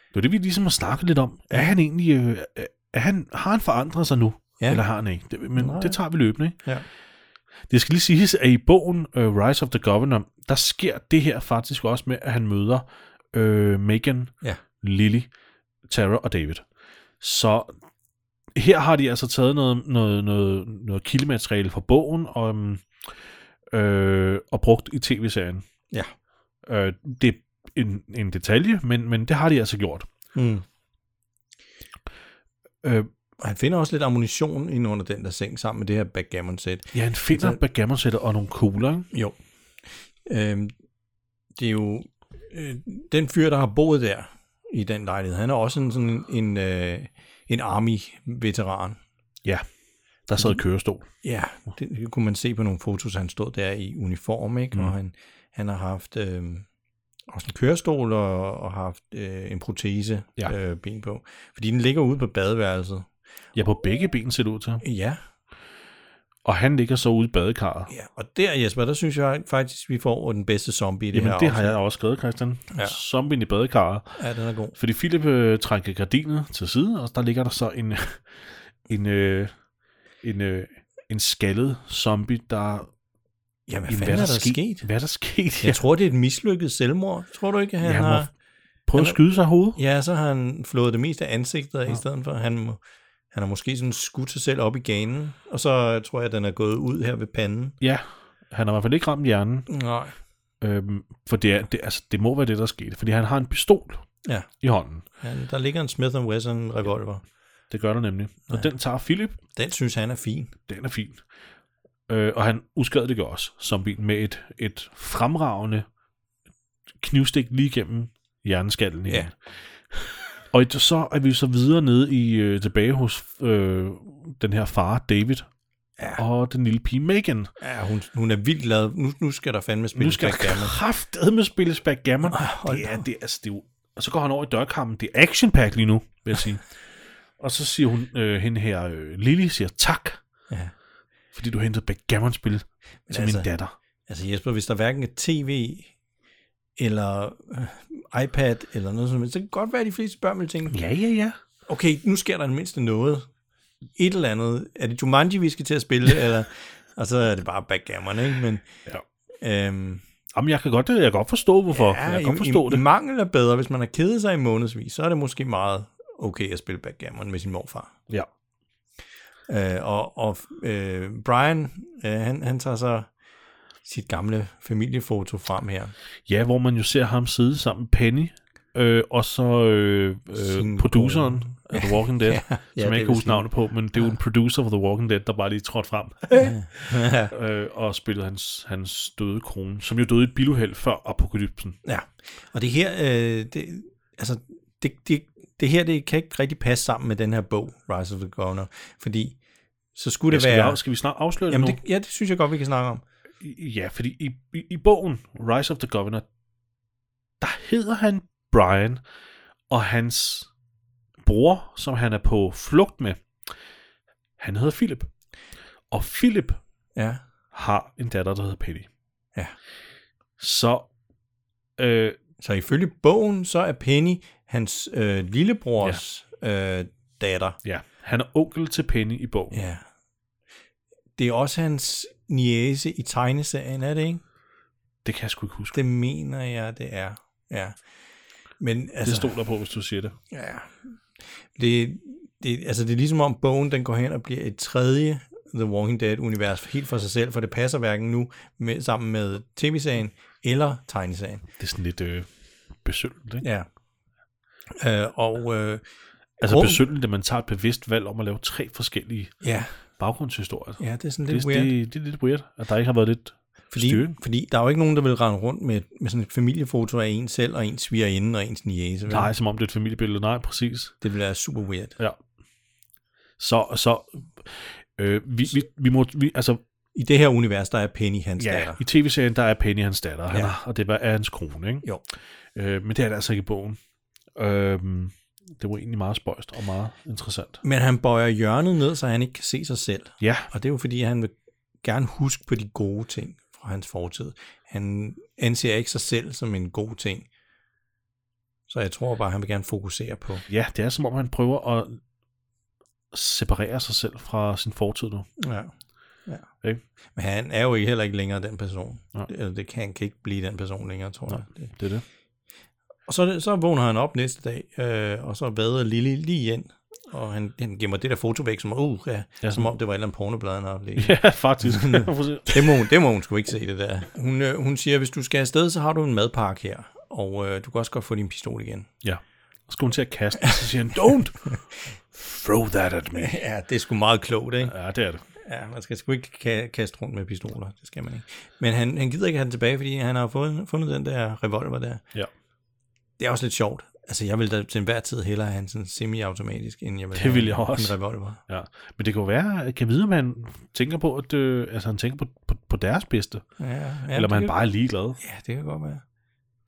Det er det, vi ligesom har snakket lidt om. Er han egentlig... Øh, er han, har han forandret sig nu? Ja.
Ja.
Eller har han ikke? Det, men Nej.
Nej.
det tager vi løbende, ikke?
Ja.
Det skal lige siges, at i bogen uh, Rise of the Governor, der sker det her faktisk også med, at han møder øh, Megan,
Ja.
Lily, Tara og David. Så her har de altså taget noget, noget, noget, noget kildemateriale fra bogen og, øhm, øh, og brugt i tv-serien.
Ja.
Øh, det er en, en detalje, men, men det har de altså gjort.
Mm.
Øh,
Og han finder også lidt ammunition inde under den der seng sammen med det her backgammon-sæt.
ja, han finder
Altså-
altså, backgammon og nogle kugler, ikke?
Jo. Øhm, det er jo... Øh, den fyr, der har boet der i den lejlighed, han er også en, sådan en, øh, en army-veteran.
Ja. Der
Mm.
sad i kørestol.
Ja, det, det kunne man se på nogle fotos, han stod der i uniform, ikke? Mm. Og han, han har haft øh, også en kørestol og, og haft øh, en protese
Ja.
ja. øh, ben på. Fordi den ligger ude på badeværelset.
Ja, på begge ben ser det ud til.
Ja,
Og han ligger så ude i badekarret.
ja. og der Jesper, der synes jeg faktisk, vi får den bedste zombie i det
Jamen,
her
det har jeg også skrevet, Christian.
Ja.
Ja. Zombien i badekarret.
afsnit. Ja, den er god.
Fordi Philip øh, trækker gardinet til side, og der ligger der så en, en, øh, en, øh, en skaldet zombie, der...
Ja, hvad
Jamen,
fanden er der sket?
Hvad er der sket? Ja,
Jeg tror, det er et mislykket selvmord. Tror du ikke, at han
Ja,
ja,
han må-
har...
Prøv at
han-
skyde sig i hovedet.
Ja, så har han flået det meste af ansigtet af, ja. i stedet for. Han, må- han har måske sådan skudt sig selv op i ganen, og så tror jeg, at den er gået ud her ved panden.
Ja, han har i hvert fald ikke ramt hjernen.
Nej.
Øhm, for det, er, det, altså, det må være det, der skete. Fordi han har en pistol
Ja,
i hånden.
han, der ligger en Smith Wesson revolver.
Det gør der nemlig. Og den tager Philip.
Den synes han er fin.
Den er fin. Øh, og han uskadeliggør også zombien med et, et fremragende knivstik lige gennem hjerneskallen igen.
Ja.
Ja. Og et- så er vi så videre nede i øh, tilbage hos øh, den her far, David, ja. og den lille pige, Megan.
Ja, hun, hun er vildt glad. Nu, nu skal der fandme spille
Nu skal der
backgammon.
kraftedme spilles backgammon.
hold
Det er, det, er- altså, det er jo, og så går han over i dørkammen. Det er action pack lige nu, vil jeg sige. og så siger hun, øh, hende her, øh, Lily, siger tak,
Ja.
fordi du hentede backgammon-spil til altså,
altså-
min datter.
Altså Jesper, hvis der hverken er tv eller øh, iPad eller noget som helst, så kan det godt være, at de fleste børn vil tænke,
Ja, ja, ja.
okay, nu sker der i det mindste noget. Et eller andet. Er det Jumanji, vi skal til at spille? eller, og så er det bare backgammon, ikke? Men,
Ja.
øhm,
Jamen, jeg kan godt, jeg kan godt forstå, hvorfor. Ja, jeg kan godt forstå
i,
det.
I mangel er bedre. Hvis man har kedet sig i månedsvis, så er det måske meget okay at spille backgammon med sin morfar.
Ja.
Øh, og og øh, Brian, øh, han, han tager så sit gamle familiefoto frem her.
ja, hvor man jo ser ham sidde sammen med Penny, øh, og så øh,
Sin
øh, produceren af The Walking Dead, ja,
ja,
som
det
jeg
er
ikke kan
vist
huske navnet på, men det er jo en producer for The Walking Dead, der bare lige trådte frem øh, og spillede hans, hans døde kone, som jo døde i et biluheld før apokalypsen.
Ja, og det her, øh, det, altså, det, det, det her det kan ikke rigtig passe sammen med den her bog, Rise of the Governor, fordi så skulle
Det
det
skal, vi,
være...
af- skal vi snart afsløre
Jamen
det nu?
det, ja, det synes jeg godt, vi kan snakke om.
Ja, fordi i, i, i bogen Rise of the Governor, der hedder han Brian, og hans bror, som han er på flugt med, han hedder Philip. Og Philip
Ja,
har en datter, der hedder Penny.
Ja.
Så øh,
så ifølge bogen, så er Penny hans øh, lillebrors ja. øh, datter.
ja, han er onkel til Penny i bogen.
Ja. Det er også hans niece i tegneserien, er det ikke?
Det kan jeg sgu ikke huske.
Det mener jeg, det er. Ja. Men
Det, det
altså,
stoler på, hvis du siger det.
Ja. Det, det, altså det er ligesom om bogen den går hen og bliver et tredje The Walking Dead-univers helt for sig selv, for det passer hverken nu med, sammen med tv-serien eller tegneserien.
Det er sådan lidt øh, besynderligt, ikke?
Ja. Øh, og øh,
Altså
Rum.
besynderligt, at man tager et bevidst valg om at lave tre forskellige
ja,
baggrundshistorier.
ja, det er sådan
det,
lidt
det,
weird.
det, det er lidt weird, at der ikke har været lidt
fordi,
styring.
fordi der er jo ikke nogen, der vil rende rundt med, med sådan et familiefoto af en selv, og ens svigerinde og ens niece. vel?
Nej, som om det er et familiebillede. Nej, præcis.
Det vil være super weird.
Ja. Så, så øh, vi, vi, vi må, vi, altså,
I det her univers, der er Penny hans
ja,
datter.
i tv-serien, der er Penny hans datter, han
Ja.
er, og det var- er hans kone, ikke?
Jo.
Øh, men det er det altså ikke i bogen. Øh, det var egentlig meget spøjst og meget interessant.
Men han bøjer hjørnet ned, så han ikke kan se sig selv.
Ja,
Og det er jo fordi, han vil gerne huske på de gode ting fra hans fortid. Han anser ikke sig selv som en god ting. Så jeg tror bare, han vil gerne fokusere på.
ja, det er som om, han prøver at separere sig selv fra sin fortid nu.
Ja. ja.
Ikke?
Men han er jo ikke- heller ikke længere den person.
Nej.
Eller det kan, han kan ikke blive den person længere, tror jeg. Det.
Det er det.
Og så, er det- så vågner han op næste dag, øh, og så vader Lille lige ind. Og han, han gemmer det der foto væk, som, uh, ja, ja.
Ja.
som om det var et eller andet pornoblad, han har haft liggende.
Ja, faktisk. Præcis.
Det må, hun, det må hun sgu ikke se, det der. Hun, øh, hun siger, hvis du skal afsted, så har du en madpakke her, og øh, du kan også godt få din pistol igen.
ja. Så skal hun til at kaste den, så siger han, don't throw that at me.
Ja, det er sgu meget klogt, ikke?
Ja, det er det.
Ja, man skal sgu ikke ka- kaste rundt med pistoler. Det skal man ikke. Men han, han gider ikke have den tilbage, fordi han har fået, fundet den der revolver der.
Ja.
Det er også lidt sjovt. Altså, jeg vil da til enhver tid hellere have en sådan semi-automatisk, end jeg vil
Det
have
ville jeg også.
en revolver.
Ja, men det kan jo være, at kan vide, om han tænker på, at øh, altså, han tænker på, på, på deres bedste, ja,
Ja, ja,
eller om
det
han
kan-
bare er ligeglad.
Ja, det kan godt være.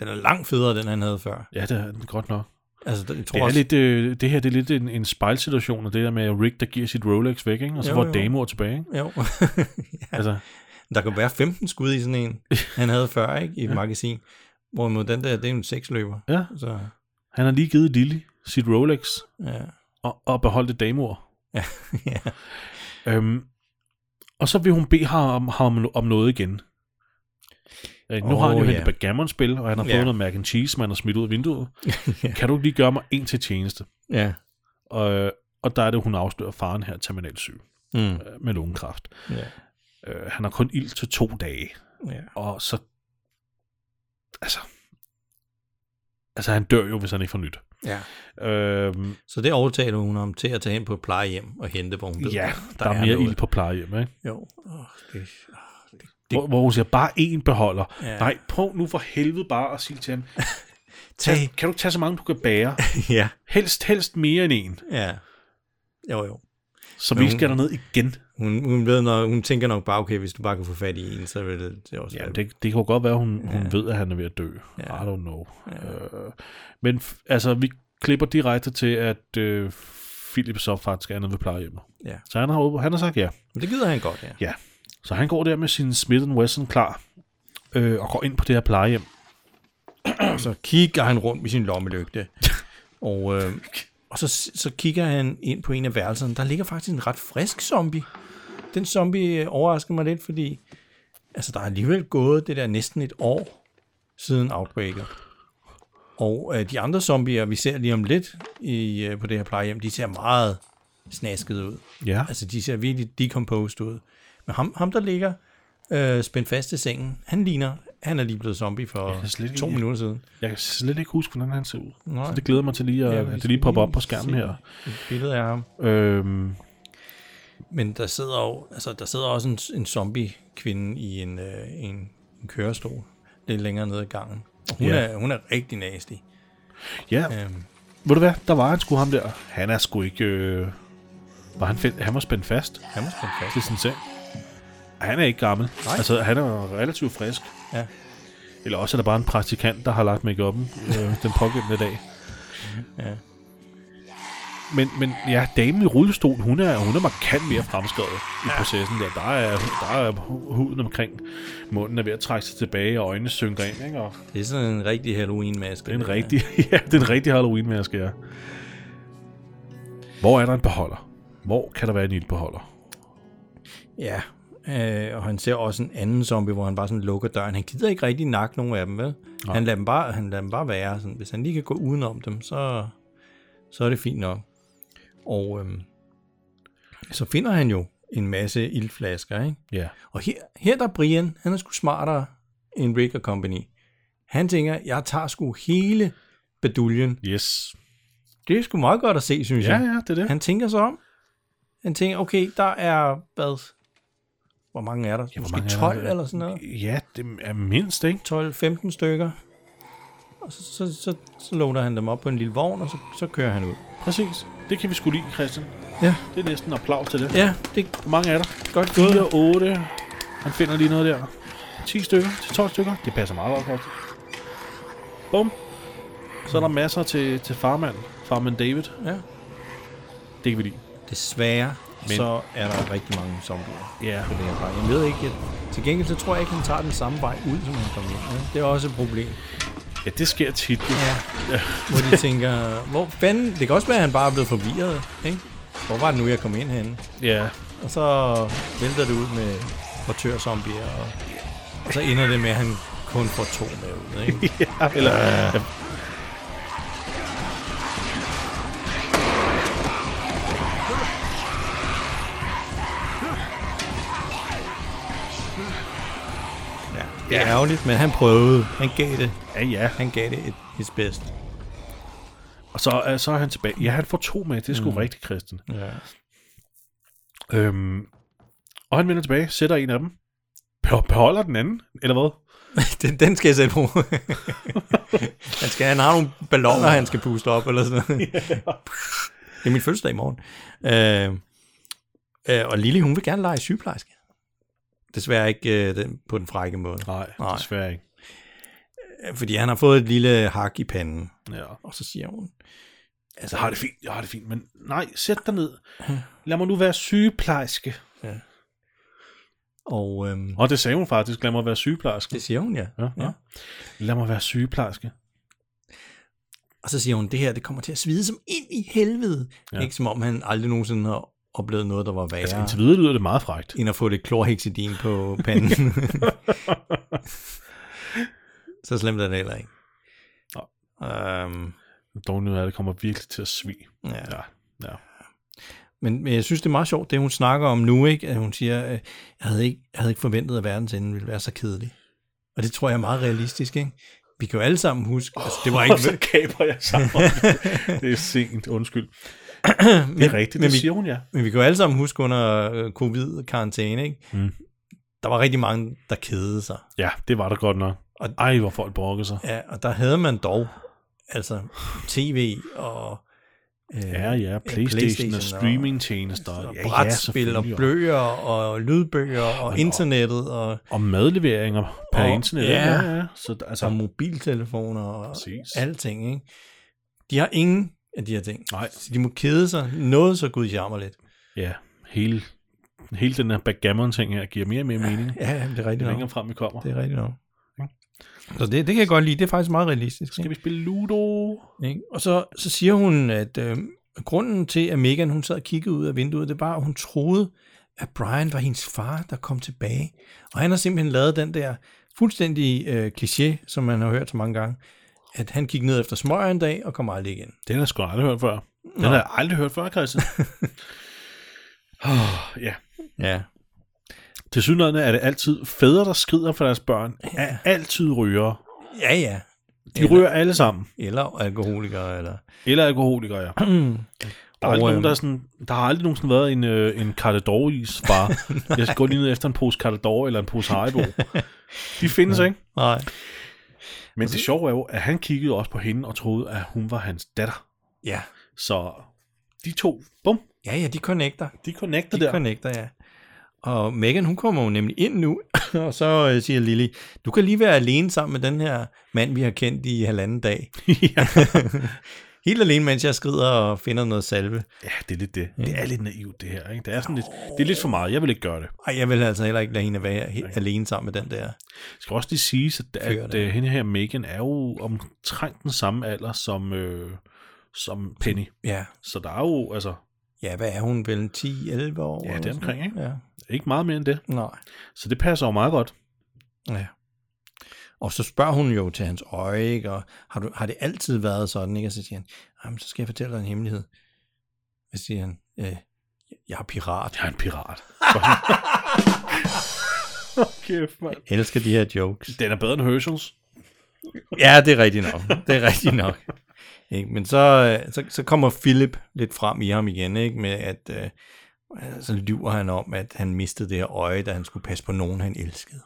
Den er langt federe, den han havde før.
Ja, det er den godt nok.
Altså, den- jeg tror
Det, er
også,
lidt, øh, det her det er lidt en, en spejlsituation, og det der med Rick, der giver sit Rolex væk, ikke? og så
Jo,
får
jo.
Damor tilbage. Ikke?
Jo. ja.
Altså,
Der kan være 15 skud i sådan en, han havde før, ikke? I et ja. magasin. Hvorimod den der, det er en seksløber.
ja,
Så,
han har lige givet Lily sit Rolex
ja.
og, og beholdt Damor.
ja.
Øhm, og så vil hun bede ham om, ham om noget igen. Øh, nu oh, har han jo
Åh,
yeah.
ja.
hentet backgammon-spil, og han har fået
Ja.
noget mac and cheese, man har smidt ud af vinduet.
Ja.
Kan du ikke lige gøre mig en til tjeneste?
ja.
Og, og der er det, hun afslører faren her, terminalsyg,
Mm.
øh, med lungekræft.
ja.
Øh, han har kun ild til to dage,
ja.
og så... Altså... Altså, han dør jo, hvis han ikke får nyt.
Ja.
Øhm,
Så det overtaler hun om til at tage hen på et plejehjem og hente, hvor hun ved,
ja,
at
der, der er mere
noget.
ild på plejehjem, ikke?
Jo. Oh, det, oh, det, det,
Hvor, hvor hun siger, bare én beholder.
Ja.
Nej, prøv nu for helvede bare at sige til ham,
tag.
Tag, kan du ikke tage så mange, du kan bære?
ja.
Helst, helst mere end en.
ja. Jo, jo.
Så
Men
vi
hun-
skal derned igen.
Hun, hun, ved, når, hun tænker nok bare, okay, hvis du bare kan få fat i en, så vil det, det også
Ja,
være-
det, det kan jo godt være, hun, ja. hun ved, at han er ved at dø.
Ja.
I don't know. Øh, men f- altså, vi klipper direkte til, at øh, Philip så faktisk er nede ved plejehjemmet.
Ja.
Så han har, han har sagt ja.
Men det gider han godt, ja.
Ja. Så han går der med sin Smith Wesson klar, øh, og går ind på det her plejehjem.
Så kigger han rundt med sin lommelygte, og, øh, og så, så kigger han ind på en af værelserne. Der ligger faktisk en ret frisk zombie. Den zombie øh, overrasker mig lidt, fordi altså, der er alligevel gået det der næsten et år siden Outbreaker. Og øh, de andre zombier, vi ser lige om lidt i, øh, på det her plejehjem, de ser meget snaskede ud.
Ja.
Altså, de ser virkelig decomposed ud. Men ham, ham der ligger øh, spændt fast i sengen, han ligner, han er lige blevet zombie for
kan slet ikke-
to minutter siden.
Jeg kan slet ikke huske, hvordan han ser ud.
Nej.
Så det glæder mig til lige at,
Ja,
ja,
vi
at det
skal
lige popper op
lige
på skærmen
se
her.
Et billede af ham.
Øhm,
Men der sidder jo, altså, der sidder også en, en zombie-kvinde i en, øh, en, en kørestol lidt længere nede ad gangen. Og Hun,
Ja.
ja. er, hun er rigtig nasty.
ja,
Øhm,
Ved du hvad? Der var han sgu ham der. Han er sgu ikke... Øh... Var han, fæld... han var spændt fast
han må spænde
til
fast.
sin seng. Han er ikke gammel.
Nej.
Altså, han er relativt frisk.
Ja.
Eller også er der bare en praktikant, der har lagt make-up'en øh, den pågældende dag.
Ja.
Men, men ja, damen i rullestol, hun er, hun er markant mere fremskrevet i processen. Der, der, er, der er hu- huden omkring munden er ved at trække sig tilbage, og øjnene synker ind, ikke? Og
Det er sådan en rigtig Halloween-maske.
det er en
der.
rigtig, ja, det er en rigtig Halloween-maske, ja. Hvor er der en beholder? Hvor kan der være en ildbeholder?
Ja, øh, og han ser også en anden zombie, hvor han bare sådan lukker døren. Han gider ikke rigtig nakke nogen af dem, vel? Han lader dem bare, han lader dem bare være. Sådan. Hvis han lige kan gå udenom dem, så, så er det fint nok. Og øhm, så finder han jo en masse ildflasker, ikke?
Ja.
Og her, her der er Brian, han er sgu smartere end Rick og Company. Han tænker, jeg tager sgu hele beduljen.
Yes.
Det er sgu meget godt at se, synes
Ja,
jeg.
ja, det er det.
Han tænker så om. Han tænker, okay, der er, hvad? Hvor mange er der? Ja, Måske
mange er
12
der?
eller sådan noget.
Ja, det er mindst, ikke?
12-15 stykker. Og så, så, så, så loader han dem op på en lille vogn, og så, så kører han ud.
Præcis. Det kan vi sgu lide, Christian.
Ja.
Det er næsten applaus til det.
Ja, det er
Hvor mange er der?
godt gået.
4, 8. Han finder lige noget der. 10 stykker til 12 stykker. Det passer meget godt, Christian. Bum. Så er der masser til, til farmand. Farmand David.
Ja.
Det kan vi lide.
Desværre,
Men-
Men. så er der rigtig mange zombier.
Ja.
på det her vej. Jeg ved ikke, at til gengæld så tror jeg ikke, han tager den samme vej ud, som han kom ind. Ja, det er også et problem.
Ja, det sker tit. jo.
Ja. Hvor de tænker, hvor fanden, det kan også være, at han bare er blevet forvirret, ikke? Hvor var det nu, jeg kom ind henne?
Ja.
Og så vælter det ud med portørzombier, og, og så ender det med, at han kun får to med ud, ikke?
Eller...
Ja. Det er ærgerligt, men han prøvede. Han gav det.
Ja, ja.
Han gav det et, his best.
Og så, øh, så er han tilbage. Ja, han får to med. Det er sgu mm. rigtigt, Christian.
Ja.
Øhm, og han vender tilbage, sætter en af dem. Be- Beholder den anden, eller hvad?
Den, den skal jeg selv bruge. han, skal, han har nogle balloner, han skal puste op, eller sådan noget. Det er min fødselsdag i morgen. Øh, øh, og Lili, hun vil gerne lege sygeplejerske. Desværre ikke øh, den, på den frække måde.
Nej,
Nej.
desværre ikke.
Fordi han har fået et lille hak i panden.
Ja.
Og så siger hun,
Altså, jeg har det fint, jeg har det fint, men nej, sæt dig ned. Lad mig nu være sygeplejerske.
og øhm,
Og det sagde hun faktisk, lad mig være sygeplejerske.
det siger hun, ja.
Ja, ja. Lad mig være sygeplejerske.
Og så siger hun, det her, det kommer til at svide som ind i helvede. Ja. Ikke som om han aldrig nogensinde har oplevet noget, der var værre,
Altså,
altså,
indtil videre lyder det meget frægt.
end at få lidt klorhexidin på panden. så slemt er det heller ikke.
Nå.
Øhm,
Dog nu er det kommer virkelig til at svige.
ja.
Ja, ja.
Men, men jeg synes, det er meget sjovt, det hun snakker om nu, ikke? at hun siger, øh, jeg havde ikke, jeg havde ikke forventet, at verdens ende ville være så kedelig. Og det tror jeg er meget realistisk, ikke? Vi kan jo alle sammen huske, altså, det var
Og så
ikke...
kaber jeg sammen. det er sent, undskyld. Det er rigtigt,
men
det
vi-
siger hun ja.
Men vi kan jo alle sammen huske under øh, covid-karantæne, ikke? Mm. Der var rigtig mange, der kedede sig.
Ja, det var der godt nok.
Og-
Ej, hvor folk brokkede sig.
Ja, og der havde man dog, altså tv og øh,
Ja, ja, PlayStation,
PlayStation
og
og-
streamingtjenester.
og
ja,
brætspil ja, og
selvfølgelig,
bløger og lydbøger og internettet og,
Og madleveringer på
Og-
internet.
ja.
ja, ja. Så, der- altså,
og mobiltelefoner og
Præcis.
alting, ikke? De har ingen af de her ting.
Nej.
Så de må kede sig noget, så gud jammer lidt.
ja, hele, hele den her backgammon-ting her giver mere og mere mening,
Ja, jamen, det er
jo
rigtigt nok.
længere frem vi kommer.
Det er rigtigt nok. Så det, det kan jeg godt lide. Det er faktisk meget realistisk.
Skal vi spille Ludo?
Ikke? Og så, så siger hun, at øh, grunden til, at Megan hun sad og kiggede ud af vinduet, det var, at hun troede, at Brian var hendes far, der kom tilbage. Og han har simpelthen lavet den der fuldstændig øh, kliché, som man har hørt så mange gange, at han gik ned efter smøger en dag og kom aldrig igen.
Den har jeg sgu aldrig hørt før. Den har jeg aldrig hørt før, Christian. oh, ja.
Ja.
Til synligheden er det altid fædre, der skrider for deres børn, er altid ryger.
Ja, ja.
De ryger alle sammen.
Eller alkoholikere, eller...
Eller alkoholikere, ja. Der, er aldrig
Og,
nogen, der, er
øhm,
sådan, der har aldrig nogensinde været en, øh, en Cardador-is bare. jeg skal gå lige ned efter en pose Cardador eller en pose Haribo. De findes ikke.
Nej.
Men det sjove er jo, at han kiggede også på hende og troede, at hun var hans datter.
Ja.
Så de to, bum,
Ja, ja, de connecter.
de connected
De
der.
connecter, ja. Og Megan, hun kommer jo nemlig ind nu, og så øh, siger Lily, du kan lige være alene sammen med den her mand, vi har kendt i halvanden dag.
ja.
Helt alene, mens jeg skrider og finder noget salve.
ja, det er lidt det. Det er lidt naivt, det her. Ikke? Det, er sådan lidt, det er lidt for meget. Jeg vil ikke gøre det.
Ej, jeg vil altså heller ikke lade hende være he- alene sammen med den der.
Det skal også lige siges, at,
Fyr
at
der.
øh, hende her, Megan, er jo omtrent den samme alder som, øh, som Penny.
Ja,
Så der er jo, altså,
ja hvad er hun vel? 10-11 år?
Ja,
eller
det er
sådan
omkring,
noget?
ikke?
Ja,
ikke meget mere end det.
nej.
Så det passer jo meget godt.
Ja. Og så spørger hun jo til hans øje, ikke? og har, du, har det altid været sådan? Ikke? Og så siger han, Jamen, så skal jeg fortælle dig en hemmelighed. Hvad siger han? Øh, jeg er pirat.
Jeg er en pirat. Kæft, mand.
Jeg elsker de her jokes.
Den er bedre end Herschels.
Ja, det er rigtigt nok. Det er rigtigt nok. Ikke? Men så, øh, så, så kommer Philip lidt frem i ham igen, ikke? med at øh, så lyver han om, at han mistede det her øje, da han skulle passe på nogen, han elskede.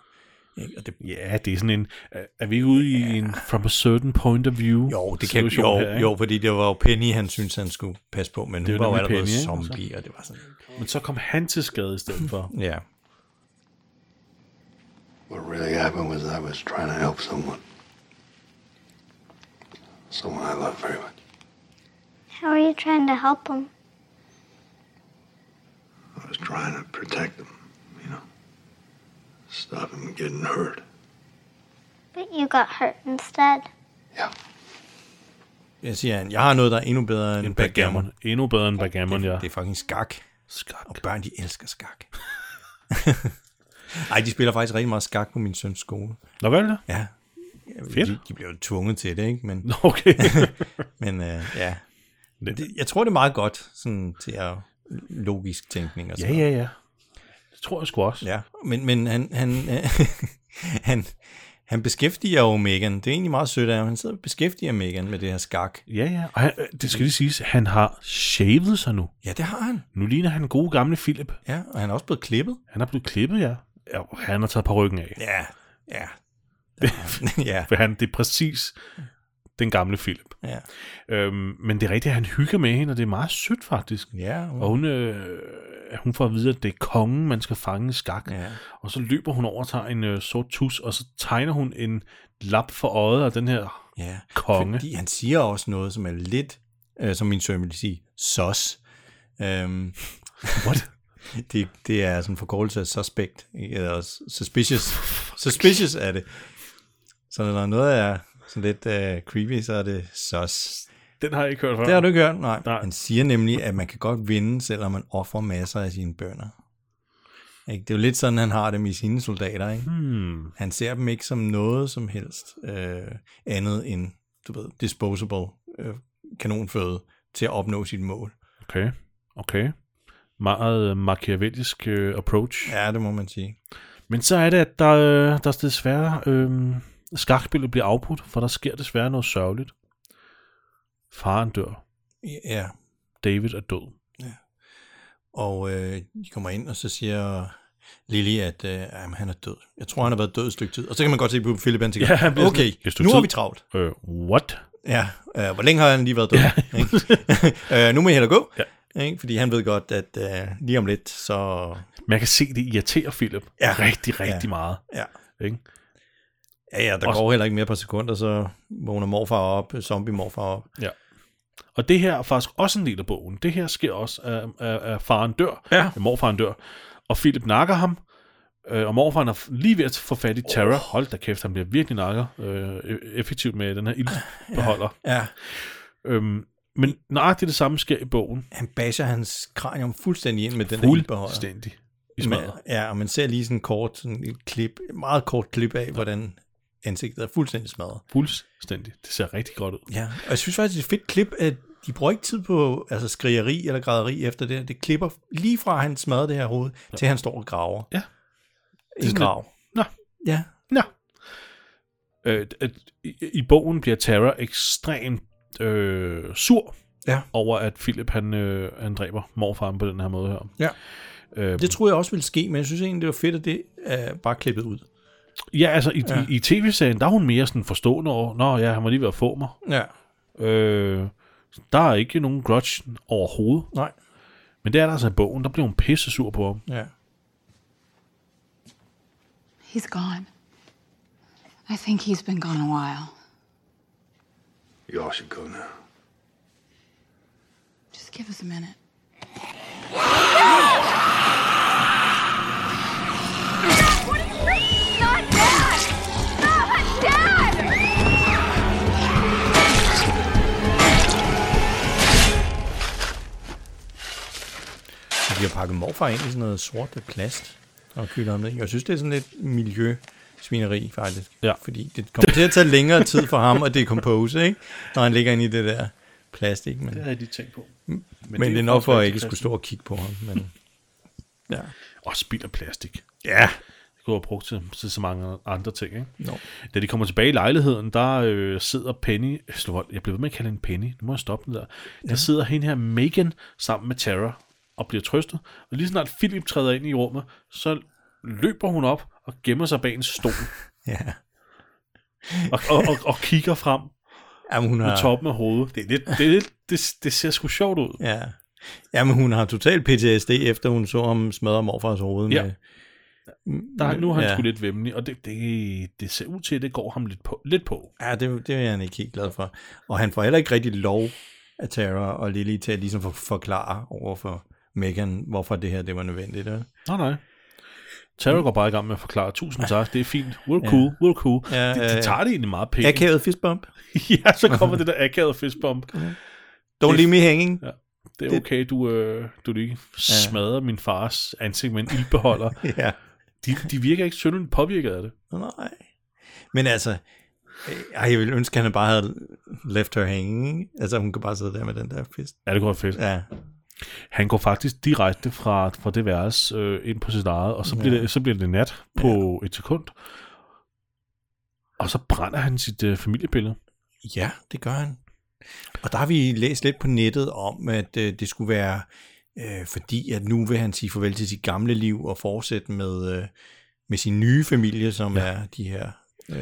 Ikke? Og det,
Ja, det er sådan en... er- Er vi ikke ude i en from a certain point of view?
jo, det kan,
situation
jo,
her, ikke?
jo, fordi det var jo Penny, han syntes, han skulle passe på, men
er
hun var jo
nemlig
allerede
Penny, ikke? Altså.
zombie, og det var sådan,
Men så kom han til skade i stedet for.
ja.
What really happened was I was trying to help someone. Someone I love very much.
How are you trying to help him?
I was trying to protect them, you know. Stop him getting hurt.
But you got hurt instead.
Yeah.
Jeg siger han, jeg har noget, der er endnu bedre end, end backgammon.
Backgammon. Endnu bedre end backgammon, ja.
Det er fucking skak.
Skak.
Og børn, de elsker skak. Ej, de spiller faktisk rigtig meget skak på min søns skole.
Nå, hvad er det?
Ja.
Fedt.
De, de bliver jo tvunget til det, ikke? Men,
Nå, Okay.
men øh, ja. Det, jeg tror, det er meget godt sådan, til at logisk tænkning og
ja,
sådan
ja, ja. Det tror jeg sgu også.
noget. ja. Men, men han, han, øh, han, Han beskæftiger jo Megan. Det er egentlig meget sødt af ham. Han sidder og beskæftiger Megan med det her skak.
Ja, ja. Og han, øh, det skal lige siges, han har shavet sig nu.
Ja, det har han.
Nu ligner han gode gamle Philip.
Ja, og han er også blevet klippet.
Han er blevet klippet, ja. ja og han har taget på ryggen af.
Ja, ja, ja,
For han, det er præcis den gamle Philip.
ja.
Øhm, men det er rigtigt, at han hygger med hende, og det er meget sødt faktisk.
Ja, hun-
Og hun, øh, hun får at vide, at det er kongen, man skal fange i skak.
Ja.
Og så løber hun over og tager en øh, sort tus, og så tegner hun en lap for øjet af den her
ja.
konge.
Fordi han siger også noget, som er lidt, øh, som min søn ville sige, sos. Øhm,
What?
det, det er sådan en forkortelse af suspect, ikke? eller suspicious. suspicious er det. Så når noget er sådan lidt øh, creepy, så er det sos.
Den har jeg ikke hørt før.
Det har du ikke hørt, nej.
Nej.
Han siger nemlig, at man kan godt vinde, selvom man offrer masser af sine bønder. Ikke? Det er jo lidt sådan, han har dem i sine soldater. Ikke?
Hmm.
Han ser dem ikke som noget som helst øh, andet end, du ved, disposable øh, kanonføde til at opnå sit mål.
Okay, okay. Meget øh, machiavellisk øh, approach.
Ja, det må man sige.
Men så er det, at der, øh, der desværre øh, skakspillet bliver afbrudt, for der sker desværre noget sørgeligt. Faren dør.
Ja,
David er død.
og øh, de kommer ind, og så siger Lily, at øh, jamen, han er død. Jeg tror, han har været død et stykke tid. Og så kan man godt se på Philip, han tænker,
Ja, han bliver
okay,
sådan, "Et stykke
nu har
tid."
vi travlt.
Øh, what?
Ja, øh, hvor længe har han lige været død? Ja. Ikke? øh, nu må jeg hellere gå, ja. ikke? fordi han ved godt, at øh, lige om lidt, så...
Man kan se, det irriterer Philip
Ja.
rigtig, rigtig ja. meget.
Ja,
Ikke?
ja, ja der
Og-
går heller ikke mere på sekunder, så vågner morfar op, zombie morfar op.
Og det her er faktisk også en del af bogen. Det her sker også, at, at, at faren dør,
Ja.
at morfaren dør, og Philip nakker ham, øh, og morfaren er f- lige ved at få fat i Tara. Oh. Hold da kæft, han bliver virkelig nakker øh, e- effektivt med den her ildbeholder.
Ja,
Ja. Øhm, men nøjagtigt det samme sker i bogen.
han basher hans kranium fuldstændig ind med den der ildbeholder.
Fuldstændig i smadret.
Men- Ja, og man ser lige sådan en kort, sådan et klip, et meget kort klip af, hvordan ansigtet er fuldstændig smadret.
Fuldstændig. Det ser rigtig godt ud.
Ja, og jeg synes faktisk, det er et fedt klip, at de bruger ikke tid på altså skrigeri eller græderi efter det. Det klipper lige fra, at han smadrer det her hoved, ja. til han står og graver.
Ja.
En grav.
Nå.
Ja.
Nå. Øh, at, i, I bogen bliver Tara ekstremt øh, sur
Ja.
over, at Philip han, øh, han dræber morfaren på den her måde her.
Ja.
Øh,
Det troede jeg også ville ske, men jeg synes egentlig, det var fedt, at det er bare klippet ud.
ja, altså i,
Ja.
ja. i, i tv-serien, der er hun mere sådan forstående over, nå ja, han var lige ved at få mig.
Ja.
Øh, der er ikke nogen grudge overhovedet.
Nej.
Men det er der altså i bogen, der bliver hun pisse sur på ham.
Ja.
He's gone. I think he's been gone a while.
You all should go now.
Just give us a minute.
Not dad! Not dad!
Og de har pakket morfar ind i sådan noget sort af plast og kylder ham ned. Jeg synes, det er sådan lidt miljøsvineri, faktisk.
Ja.
Fordi det kommer til at tage længere tid for ham at decompose, ikke? Når han ligger inde i det der plastik. Men,
havde de tænkt på.
Mm. men det er nok for, at jeg ikke skulle stå og kigge på ham. Men, ja.
Og spild af plastik.
Ja.
Det kunne have brugt til, til så mange andre ting, ikke?
No.
Da de kommer tilbage i lejligheden, der øh, sidder Penny... Øh, slå vold. Jeg bliver ved med at kalde hende Penny. Nu må jeg stoppe den der. Der sidder hende her, Megan, sammen med Tara og bliver trøstet. Og lige snart Philip træder ind i rummet, så løber hun op og gemmer sig bag en stol
Ja.
og, og, og, og kigger frem
Jamen, hun
med
har,
toppen af hovedet. Det, er lidt, det, er lidt, det, det ser sgu sjovt ud.
Ja. Jamen, hun har total PTSD, efter hun så ham smadre morfars hoved.
Ja.
Med,
Der, nu er han
Ja.
ja. sgu lidt vemmelig, og det, det, det ser ud til, at det går ham lidt på. Lidt på.
Ja, det, det er han ikke helt glad for. Og han får heller ikke rigtig lov af Tara og Lily til at ligesom for, forklare over for Megan, hvorfor det her det var nødvendigt. Eller?
Nej, nej. Tara går bare i gang med at forklare, tusind tak, det er fint, we're cool, we're cool.
Ja,
Ja, de,
ja, ja.
de tager det egentlig meget pænt.
Akavet fistbump.
ja, så kommer det der akavede fistbump.
Don't leave me hanging.
Det er okay, du, øh, du lige smadrer min fars ansigt med en ildbeholder.
Ja.
De, de virker ikke synderligt påvirket af det.
Nej. Men altså, øh, ej, jeg ville ønske, at han bare havde left her hanging. ikke? Altså, hun kan bare sidde der med den der fist.
Ja, det kunne være fedt. Ja.
Ja,
Han går faktisk direkte fra, fra det værelse øh, ind på sit eget, og så bliver, ja. det, så bliver det nat på ja. et sekund. Og så brænder han sit øh, familiebillede.
Ja, det gør han. Og der har vi læst lidt på nettet om, at øh, det skulle være øh, fordi, at nu vil han sige farvel til sit gamle liv og fortsætte med, øh, med sin nye familie, som ja. er de her... Øh,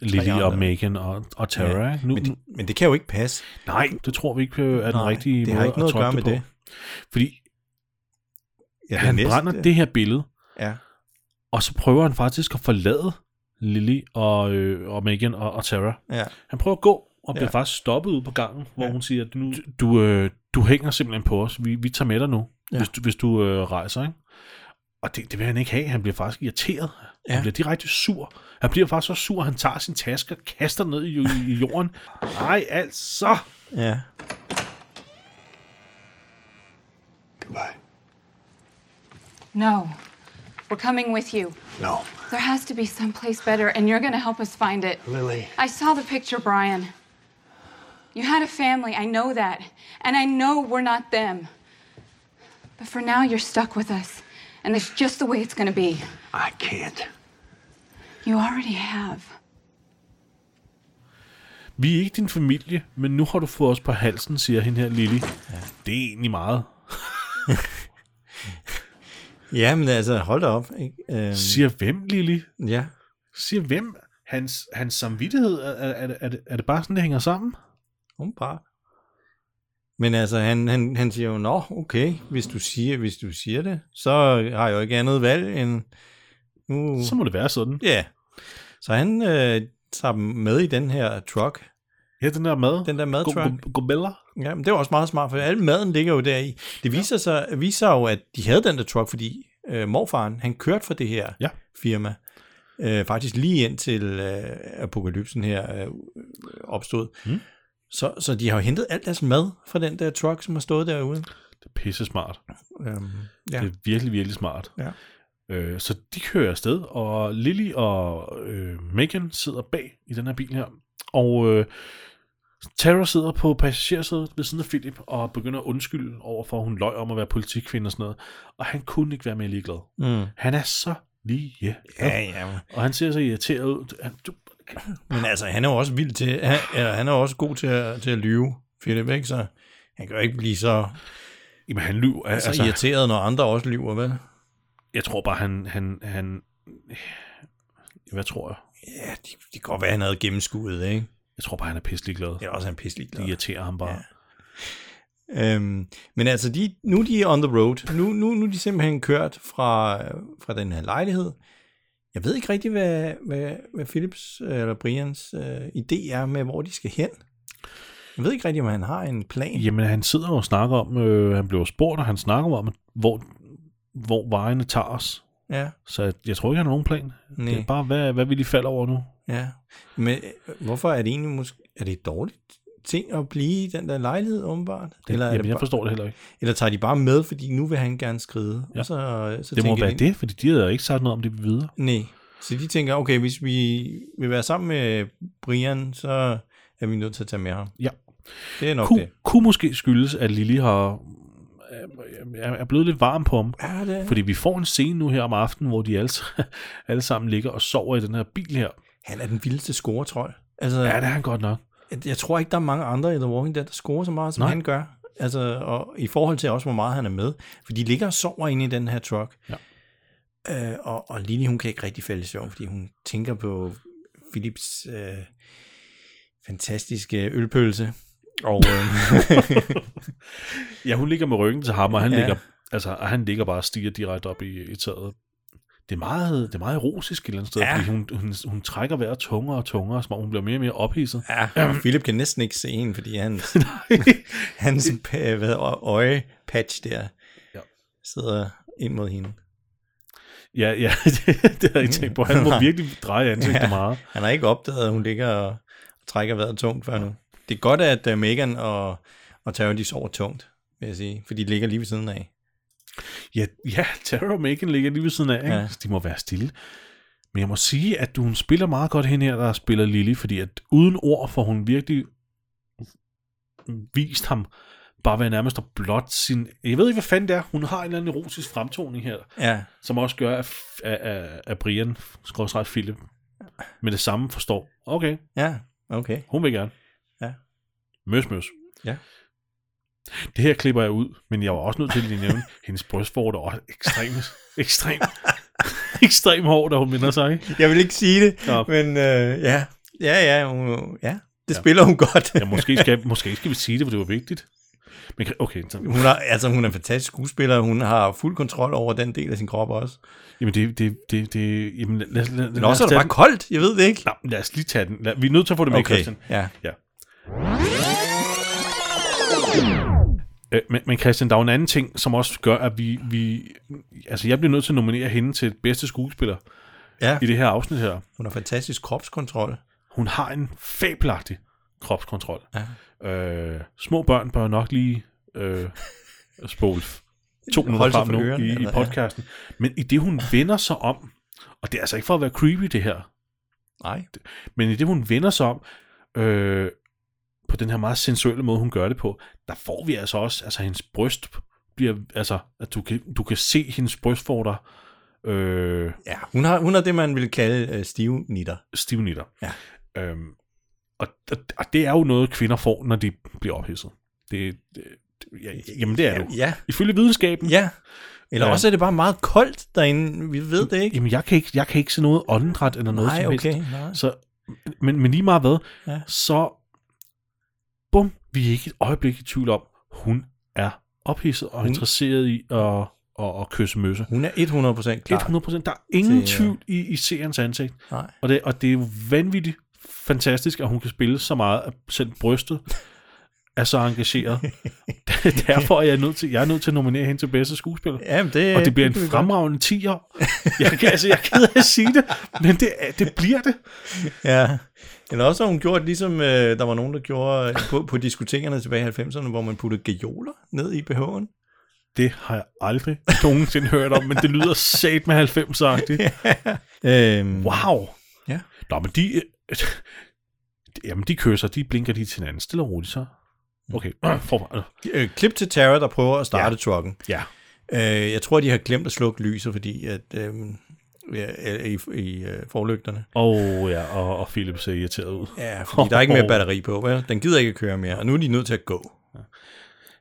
Lily
tre
og
andre.
Megan og, og Tara.
Ja,
Ja, nu,
Men det, men det kan jo ikke passe.
nej, det tror vi ikke øh, er den
Nej,
rigtige
det
måde
har ikke noget at gøre
tolke
med
på.
det.
Fordi
Ja,
han
næste-
brænder det her billede,
Ja,
og så prøver han faktisk at forlade Lily og, øh, og Megan og, og Tara.
ja,
Han prøver at gå, og bliver
Ja.
faktisk stoppet ude på gangen, hvor
Ja.
hun siger, at nu, du, øh, du hænger simpelthen på os. Vi, vi tager med dig nu,
Ja.
ja. hvis, du- hvis du øh, rejser. Ikke? Og det, det vil han ikke have. Han bliver faktisk irriteret. Ja.
Ja.
Han bliver direkte sur. Han bliver faktisk så sur, at han tager sin taske og kaster den ned i, i jorden. Nej, altså!
ja.
Goodbye.
No. We're coming with you.
No.
There has to be someplace better, and you're gonna help us find it.
Lily.
I saw the picture, Brian. You had a family, I know that. And I know we're not them. But for now, you're stuck with us. And that's just the way it's gonna be.
I can't.
You already have.
Vi er ikke din familie, men nu har du fået os på halsen, siger hende her Lily. Ja. Det er egentlig meget.
Ja, men altså, hold da op. Ikke? Øhm,
Siger hvem, Lily?
ja.
Siger hvem? Hans, hans samvittighed? Er, er, er, det- er, det, er det bare sådan, det hænger sammen?
Hun bare. Men altså, han, han, han siger jo, nå, okay, hvis du siger, hvis du siger det, så har jeg jo ikke andet valg end... Nu...
Så må det være sådan.
Ja. Så han øh, tager dem med i den her truck.
Ja, den der mad.
Den der madtruck.
Go- go- Gobella.
Ja, men det var også meget smart, for al maden ligger jo deri. Det viser, sig, viser jo, at de havde den der truck, fordi øh, morfaren, han kørte for det her
Ja.
firma. Øh, faktisk lige indtil øh, apokalypsen her øh, opstod.
Hmm.
Mm. Så, så de har jo hentet alt deres mad fra den der truck, som har stået derude.
Det er pisse smart.
Øhm,
Ja.
ja.
Det er virkelig, virkelig smart.
Ja.
Øh, så de kører afsted, og Lily og øh, Megan sidder bag i den her bil her. Og øh, Tara sidder på passagersædet ved siden af Philip og begynder at undskylde over for, at hun løj om at være politikvinde og sådan noget. Og han kunne ikke være mere ligeglad.
Mm.
Han er så lige ja.
Ja, ja.
Og han ser så irriteret ud. Han, du,
Men altså, han er jo også vild til, han, eller han er jo også god til at, til at lyve, Philip, ikke? Så han kan jo ikke blive så,
jamen, han lyver.
så altså, irriteret, når andre også lyver, vel?
jeg tror bare, han... han, han hvad tror jeg?
Ja, det, det kan godt være, han havde gennemskuddet, ikke?
Jeg tror bare, han er pisselig glad.
Eller også er han pisselig glad.
Det irriterer ham bare.
Ja. Øhm, men altså, de, nu de er on the road. Nu, nu, nu er de simpelthen kørt fra, fra den her lejlighed. Jeg ved ikke rigtig, hvad, hvad, hvad Philips øh, eller Brians øh, idé er med, hvor de skal hen. Jeg ved ikke rigtig, om han har en plan.
Jamen, han sidder jo og snakker om, øh, han blev spurgt, og han snakker om, at hvor, hvor vejene tager os.
Ja,
Så jeg, jeg tror ikke, han har nogen plan.
Nej.
Det er bare, hvad, hvad vi lige falder over nu.
ja. Men øh, hvorfor er det egentlig måske... Er det et dårligt ting at blive i den der lejlighed, åbenbart? Eller, er
Jamen,
det
jeg
bare,
forstår det heller ikke.
eller tager de bare med, fordi nu vil han gerne skride? Ja. Og så, øh, så
Det må
tænker
være
de-
det, fordi de havde jo ikke sagt noget om det videre.
Nej. Så de tænker, okay, hvis vi vil være sammen med Brian, så er vi nødt til at tage med ham.
Ja.
Det er nok
Kunne,
det.
kunne måske skyldes, at Lili har, er, er blevet lidt varm på ham.
Ja, det er.
Fordi vi får en scene nu her om aftenen, hvor de alle, alle sammen ligger og sover i den her bil her.
Han er den vildeste scoretrøj. Altså,
Ja, det er han godt nok.
jeg tror ikke, der er mange andre i The Walking Dead, der scorer så meget, som Nej.
Nej.
han gør. Altså, og i forhold til også, hvor meget han er med. For de ligger og sover inde i den her truck.
Ja.
Øh, og, og Lili, hun kan ikke rigtig falde i søvn, fordi hun tænker på Philips øh, fantastiske ølpølse. Og, øh,
Ja, hun ligger med ryggen til ham, og han,
Ja.
ja. ligger, altså, og han ligger bare og stiger direkte op i, i taget. Det er meget, det er meget erotisk et eller andet sted,
Ja.
ja. fordi hun, hun, hun trækker vejret tungere og tungere, som om hun bliver mere og mere ophidset.
Ja, og Philip kan næsten ikke se hende, fordi hans, hans pa- hvad, hedder, øjepatch der
Ja.
sidder ind mod hende.
Ja, ja, det, det havde jeg ikke tænkt på. Han må virkelig dreje ansigtet ja. meget.
Han har ikke opdaget, at hun ligger og trækker vejret tungt før nu. Det er godt, at øh, Megan og, og Tara, de sover tungt, vil jeg sige, for de ligger lige ved siden af.
Ja, ja Tara og Megan ligger lige ved siden af, ikke?
Ja.
Ja. de må være stille. Men jeg må sige, at hun spiller meget godt hende her, der spiller Lily, fordi at uden ord får hun virkelig vist ham bare ved nærmest at blot sin... Jeg ved ikke, hvad fanden det er. Hun har en eller anden erotisk fremtoning her,
Ja,
som også gør, at, at, at Brian, skråstrej Philip, med det samme forstår, okay,
Ja, okay.
hun vil gerne.
Ja.
Møs, møs.
Ja.
Det her klipper jeg ud, men jeg var også nødt til lige at nævne, hendes brystvorter er også ekstremt, ekstremt, ekstremt hård, da hun minder sig. ikke?
Jeg vil ikke sige det,
Nå.
men øh, ja. Ja, ja, hun, ja. Det ja. spiller hun godt.
Ja, måske skal, måske skal vi sige det, for det var vigtigt. Men kan- okay, så,
Hun er, altså, hun er en fantastisk skuespiller. Hun har fuld kontrol over den del af sin krop også.
jamen det, det, det, det jamen lad, lad, lad,
Men
lad, os
også er det
tage
bare
den.
koldt. Jeg ved det ikke.
Nå, lad os lige tage den. Lad, vi er nødt til at få det med,
Okay,
Christian.
ja.
ja. Øh, men, men Christian, der er jo en anden ting, som også gør, at vi, vi... Altså, jeg bliver nødt til at nominere hende til bedste skuespiller
Ja,
i det her afsnit her.
hun har fantastisk kropskontrol.
Hun har en fabelagtig kropskontrol. Ja. Øh, små børn bør nok lige øh, spole f- to minutter
Holde sig
frem
for
nu
ørerne,
i, i
eller- ja.
podcasten. Men i det, hun vender sig om, og det er altså ikke for at være creepy, det her,
Nej.
men i det, hun vender sig om, øh, på den her meget sensuelle måde, hun gør det på, der får vi altså også, altså hendes bryst bliver, altså, at du kan, du kan se hendes bryst for dig, øh,
Ja, hun har, hun har det, man ville kalde øh, stive nitter.
stivnitter.
Ja.
Øhm, og, og, og det er jo noget, kvinder får, når de bliver ophidset. Det, det, det- ja, jamen, det er det jo.
Ja,
Ifølge videnskaben,
ja. Eller
Ja.
ja. også er det bare meget koldt derinde. Vi ved det ikke.
jamen, jeg kan ikke, jeg kan ikke se noget åndedræt eller noget
Nej,
som helst.
okay. Nej.
Så, men, men lige meget hvad,
Ja.
så bum, vi er ikke et øjeblik i tvivl om, hun er ophidset og
Hun-
interesseret i at, at, at kysse møsse.
Hun er 100% klar.
100 Der er ingen
Det er-
tvivl i, i seerens ansigt.
Nej.
Og det, og det er jo vanvittigt fantastisk, at hun kan spille så meget, at selv brystet er så engageret. Derfor er jeg nødt til, jeg er nødt til at nominere hende til bedste skuespiller.
Jamen, det,
Og det bliver en
kan vi godt.
fremragende 10'er. Jeg, kan, altså, jeg er ked af at sige det, men det, er- det bliver det.
Ja. Eller også har hun gjort, ligesom øh, der var nogen, der gjorde øh, på, på diskotekerne tilbage i 90'erne, hvor man puttede gejoler ned i BH'en.
Det har jeg aldrig nogensinde hørt om, men det lyder sat med 90-agtigt.
Øhm,
Wow.
Ja.
Nå, men de... øh, Jamen, de kysser, de blinker lige til hinanden. Stille og roligt, så. Okay, forfra.
Øh, klip til Tara, der prøver at starte ja. trucken.
Ja.
Øh, jeg tror, de har glemt at slukke lyset, fordi at, øh, ja, i, i øh, forlygterne.
Åh oh, ja, og, og Philip ser irriteret ud.
Ja, fordi der er ikke mere batteri på, vel? Den gider ikke at køre mere, og nu er de nødt til at gå.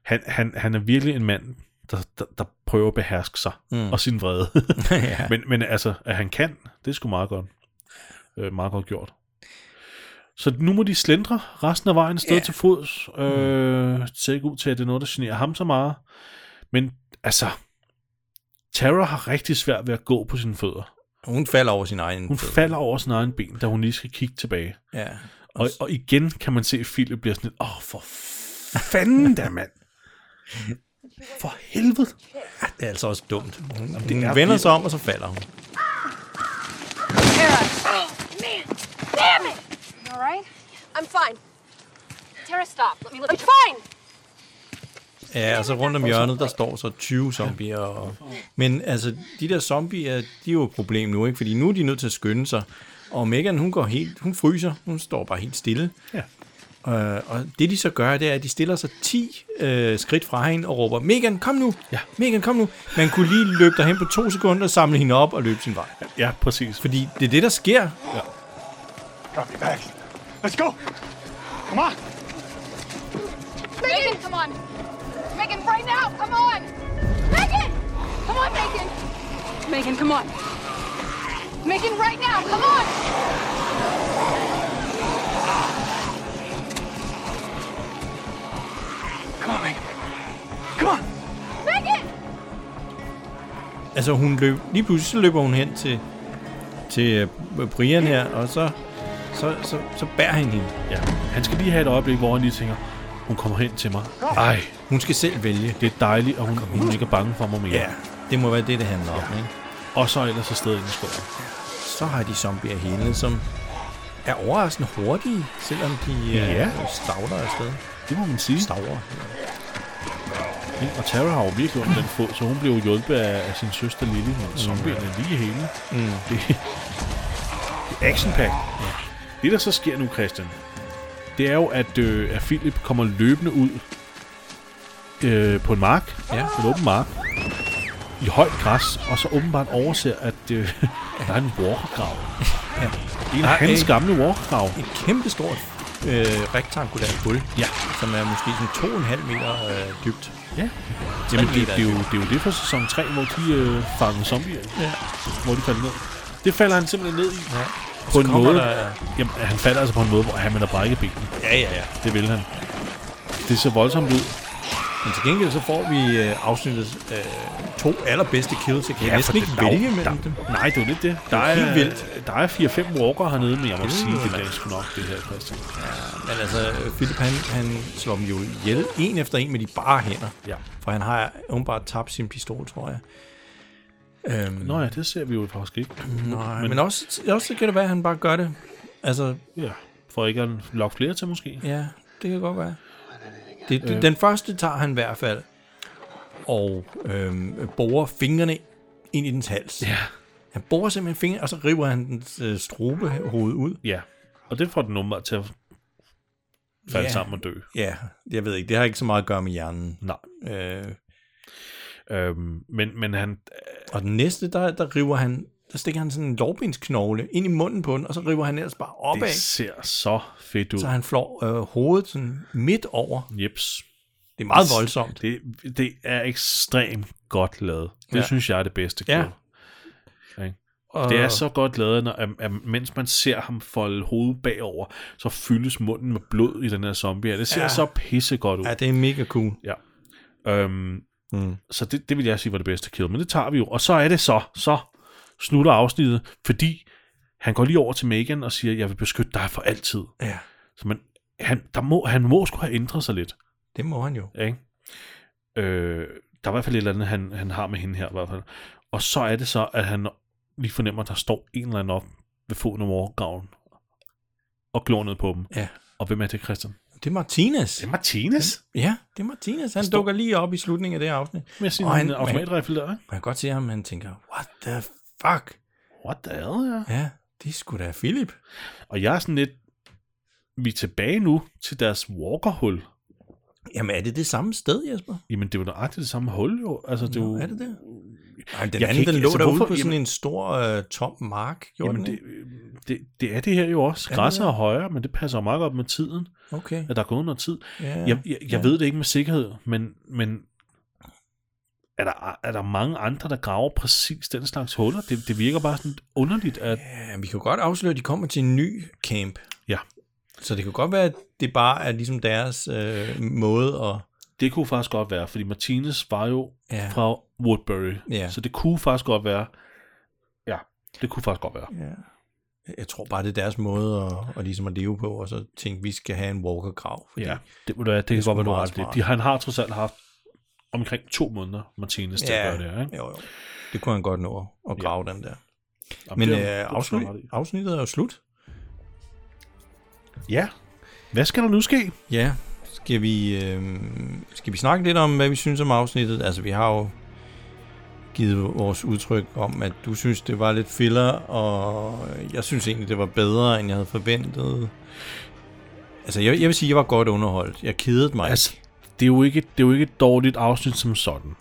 Han, han, han er virkelig en mand, der, der, der prøver at beherske sig mm. og sin vrede.
ja.
men, men altså, at han kan, det er sgu meget godt. Øh, meget godt gjort. Så nu må de slendre resten af vejen sted
Ja.
til fods. Øh, det ser ikke ud til, at det er noget, der generer ham så meget. Men altså, Tara har rigtig svært ved at gå på sine fødder.
Hun falder over sin egen
Hun
fødder.
falder over sin egen ben, da hun lige skal kigge tilbage.
Ja.
Og, og igen kan man se, at Philip bliver sådan lidt, åh, for fanden da, mand. For helvede.
Det er altså også dumt. Hun, hun vender sig om, og så falder hun.
Tara,
Man, damn it!
you all right?
I'm fine.
Tara, stop. Let me look
I'm
at you.
fine.
Ja, altså rundt om hjørnet, der står så 20 zombier. Og... Men altså, de der zombier, de er jo et problem nu, ikke? Fordi nu er de nødt til at skynde sig. Og Megan, hun går helt, hun fryser, hun står bare helt stille.
Ja.
Øh, og det de så gør, det er, at de stiller sig 10 øh, skridt fra hende og råber, Megan, kom nu!
Ja.
Megan, kom nu! Man kunne lige løbe derhen på to sekunder, samle hende op og løbe sin vej.
Ja, præcis. Fordi
Fordi det er det, der sker.
Drop your bags. Let's go. Come on.
Megan, come on. Megan, right now, come on. Megan! Come on, Megan.
Megan, come on.
Megan, right now, come on.
Come on, Megan. Come on.
Megan!
Altså hun løb, lige pludselig så løber hun hen til, til øh, Brian her, og så, så, så, så bærer han hende.
ja. han skal lige have et øjeblik, hvor han lige tænker, hun kommer hen til mig. Ej,
Hun skal selv vælge.
det er dejligt, og hun, hun er ikke er bange for mig mere.
Ja, det må være det, det handler om. Ikke?
Og så ellers afsted ind i skoven.
Så har de zombier hele, som er overraskende hurtige, selvom de
Ja.
ja. stavler afsted.
Det må man sige.
Stavler.
Ikke? Og Tara har jo virkelig ondt i den fod, så hun blev jo hjulpet af, af sin søster Lily, men zombierne er lige hele. Mm. Det, det er action pack. Ja. Det der så sker nu, Christian, det er jo, at, øh, at Philip kommer løbende ud øh, på en mark,
Ja.
en åben mark, i højt græs, og så åbenbart overser, at øh, der er en walkergrav. En
Der
af
er
hans
en-
gamle warcraft.
Et kæmpestort øh, rektangulært hul, ja. som er måske sådan 2,5 meter øh, dybt.
Ja. Jamen, det,
meter
det, er jo, det er jo det fra sæson 3, hvor de øh, fanger zombier.
Ja.
Hvor de falder ned. Det falder han simpelthen ned i.
ja.
På en
kommer
måde.
der-
Jamen, han falder altså på en måde, hvor han vil have brækket benene.
Ja, ja, ja.
Det vil han. Det ser voldsomt ud.
Men til gengæld så får vi øh, afsnittets øh, to allerbedste kills. Jeg kan ja,
for
næsten ikke
der er jo-
vælge mellem
der-
dem.
Nej, det er jo lidt det. Der
er
er,
helt vildt.
Der er 4-5 walker hernede, men jeg må
Det
sige,
er
det
man.
er sgu nok det her, Christian.
Men altså, Philip han, han slår dem jo ihjel en efter en med de bare hænder.
Ja.
For han har åbenbart tabt sin pistol, tror jeg. Øhm,
Nå ja, det ser vi jo faktisk ikke.
nej, men, men også, også kan det være, at han bare gør det. Altså,
Ja. For ikke at lokke flere til måske.
Ja, det kan godt være. Det,
Øh.
det, Den første tager han i hvert fald, og øhm, borer fingrene ind i dens hals. Ja. Han borer simpelthen fingre, og så river han dens øh, strubehoved ud.
Ja. Og det får den nummer til at falde
Ja.
sammen og dø.
Ja, jeg ved ikke, det har ikke så meget at gøre med hjernen.
Nej.
Øh,
Øhm, men, men han,
og den næste, der, der river han, der stikker han sådan en lårbensknogle ind i munden på den, og så river han ellers bare opad,
det ser så fedt ud.
så han flår øh, hovedet sådan midt over.
Jeps.
Det er meget voldsomt.
Det, det er ekstremt godt lavet. Det
Ja.
ja. synes jeg er det bedste.
Ja.
Ja. Det er så godt lavet, når, at, at, mens man ser ham folde hovedet bagover, så fyldes munden med blod i den her zombie her. Det ser
Ja.
ja. så pissegodt ud.
Ja, det er mega cool.
Øhm, mm. Så det, det vil jeg sige var det bedste kill, men det tager vi jo. Og så er det så, så slutter afsnittet, fordi han går lige over til Megan og siger, jeg vil beskytte dig for altid.
Ja,
Så man, han, der må, han må skulle have ændret sig lidt.
det må han jo.
Ikke? Øh, der er i hvert fald et eller andet, han, han har med hende her. I hvert fald. Og så er det så, at han lige fornemmer, at der står en eller anden op ved foden af morgengraven og glor ned på dem.
Ja.
Og hvem er det, Christian?
Det er Martinez.
er Martinez.
Ja, det er Martinez. Han Stå. dukker lige op i slutningen af det her afsnit.
Med sin
Og han-
automatrifle der, ikke?
Man kan godt se ham, han tænker, what the fuck?
What the hell, ja.
Ja, det er sgu da Philip.
Og jeg er sådan lidt... Vi er tilbage nu til deres walkerhul.
Jamen, er det det samme sted, Jesper?
Jamen, det er jo nøjagtigt det samme hul, jo. Altså, det er jo...
Nå, er det det? Nej, den
Jeg kan
anden,
ikke-
den lå
altså,
derude
hvorfor-
på sådan
jamen-
en stor øh, tom mark. Gjorde
Jamen,
den,
det,
ikke?
det, det er det her jo også.
det
Græsset
det?
er højere, men det passer jo meget godt med tiden,
Okay.
at der er gået noget tid.
Ja,
Jeg, jeg, jeg ved det ikke med sikkerhed, men, men er, der, er der mange andre, der graver præcis den slags huller? Det, det virker bare sådan underligt, at...
ja, vi kan jo godt afsløre, at de kommer til en ny camp.
Ja.
Så det kan godt være, at det bare er ligesom deres øh, måde at...
Det kunne faktisk godt være, fordi Martinez var jo
Ja.
ja. fra Woodbury,
Ja.
så det kunne faktisk godt være... Ja, det kunne faktisk godt være.
Ja. Jeg tror bare, det er deres måde at, at, ligesom at leve på, og så tænke, vi skal have en walker-grav. fordi
Ja, det, det, det, det kan
sgu
godt være, du har
meget
ret i det.
smart.
De, han har trods alt haft omkring to måneder, Martinez, til at gøre det her, ikke?
Jo, jo. Det kunne han godt nå at grave ja. den der.
Jamen,
Men
det
øh,
er- det er du
afsnit,
ret i.
afsnittet er jo slut.
Ja. Hvad skal der nu ske?
Ja. Skal vi, øh, skal vi snakke lidt om, hvad vi synes om afsnittet? Altså, vi har jo givet vores udtryk om, at du synes, det var lidt filler, og jeg synes egentlig, det var bedre, end jeg havde forventet. Altså, jeg, jeg vil sige, jeg var godt underholdt. Jeg kedede mig.
Altså, det er, jo ikke, det er jo ikke et dårligt afsnit som sådan.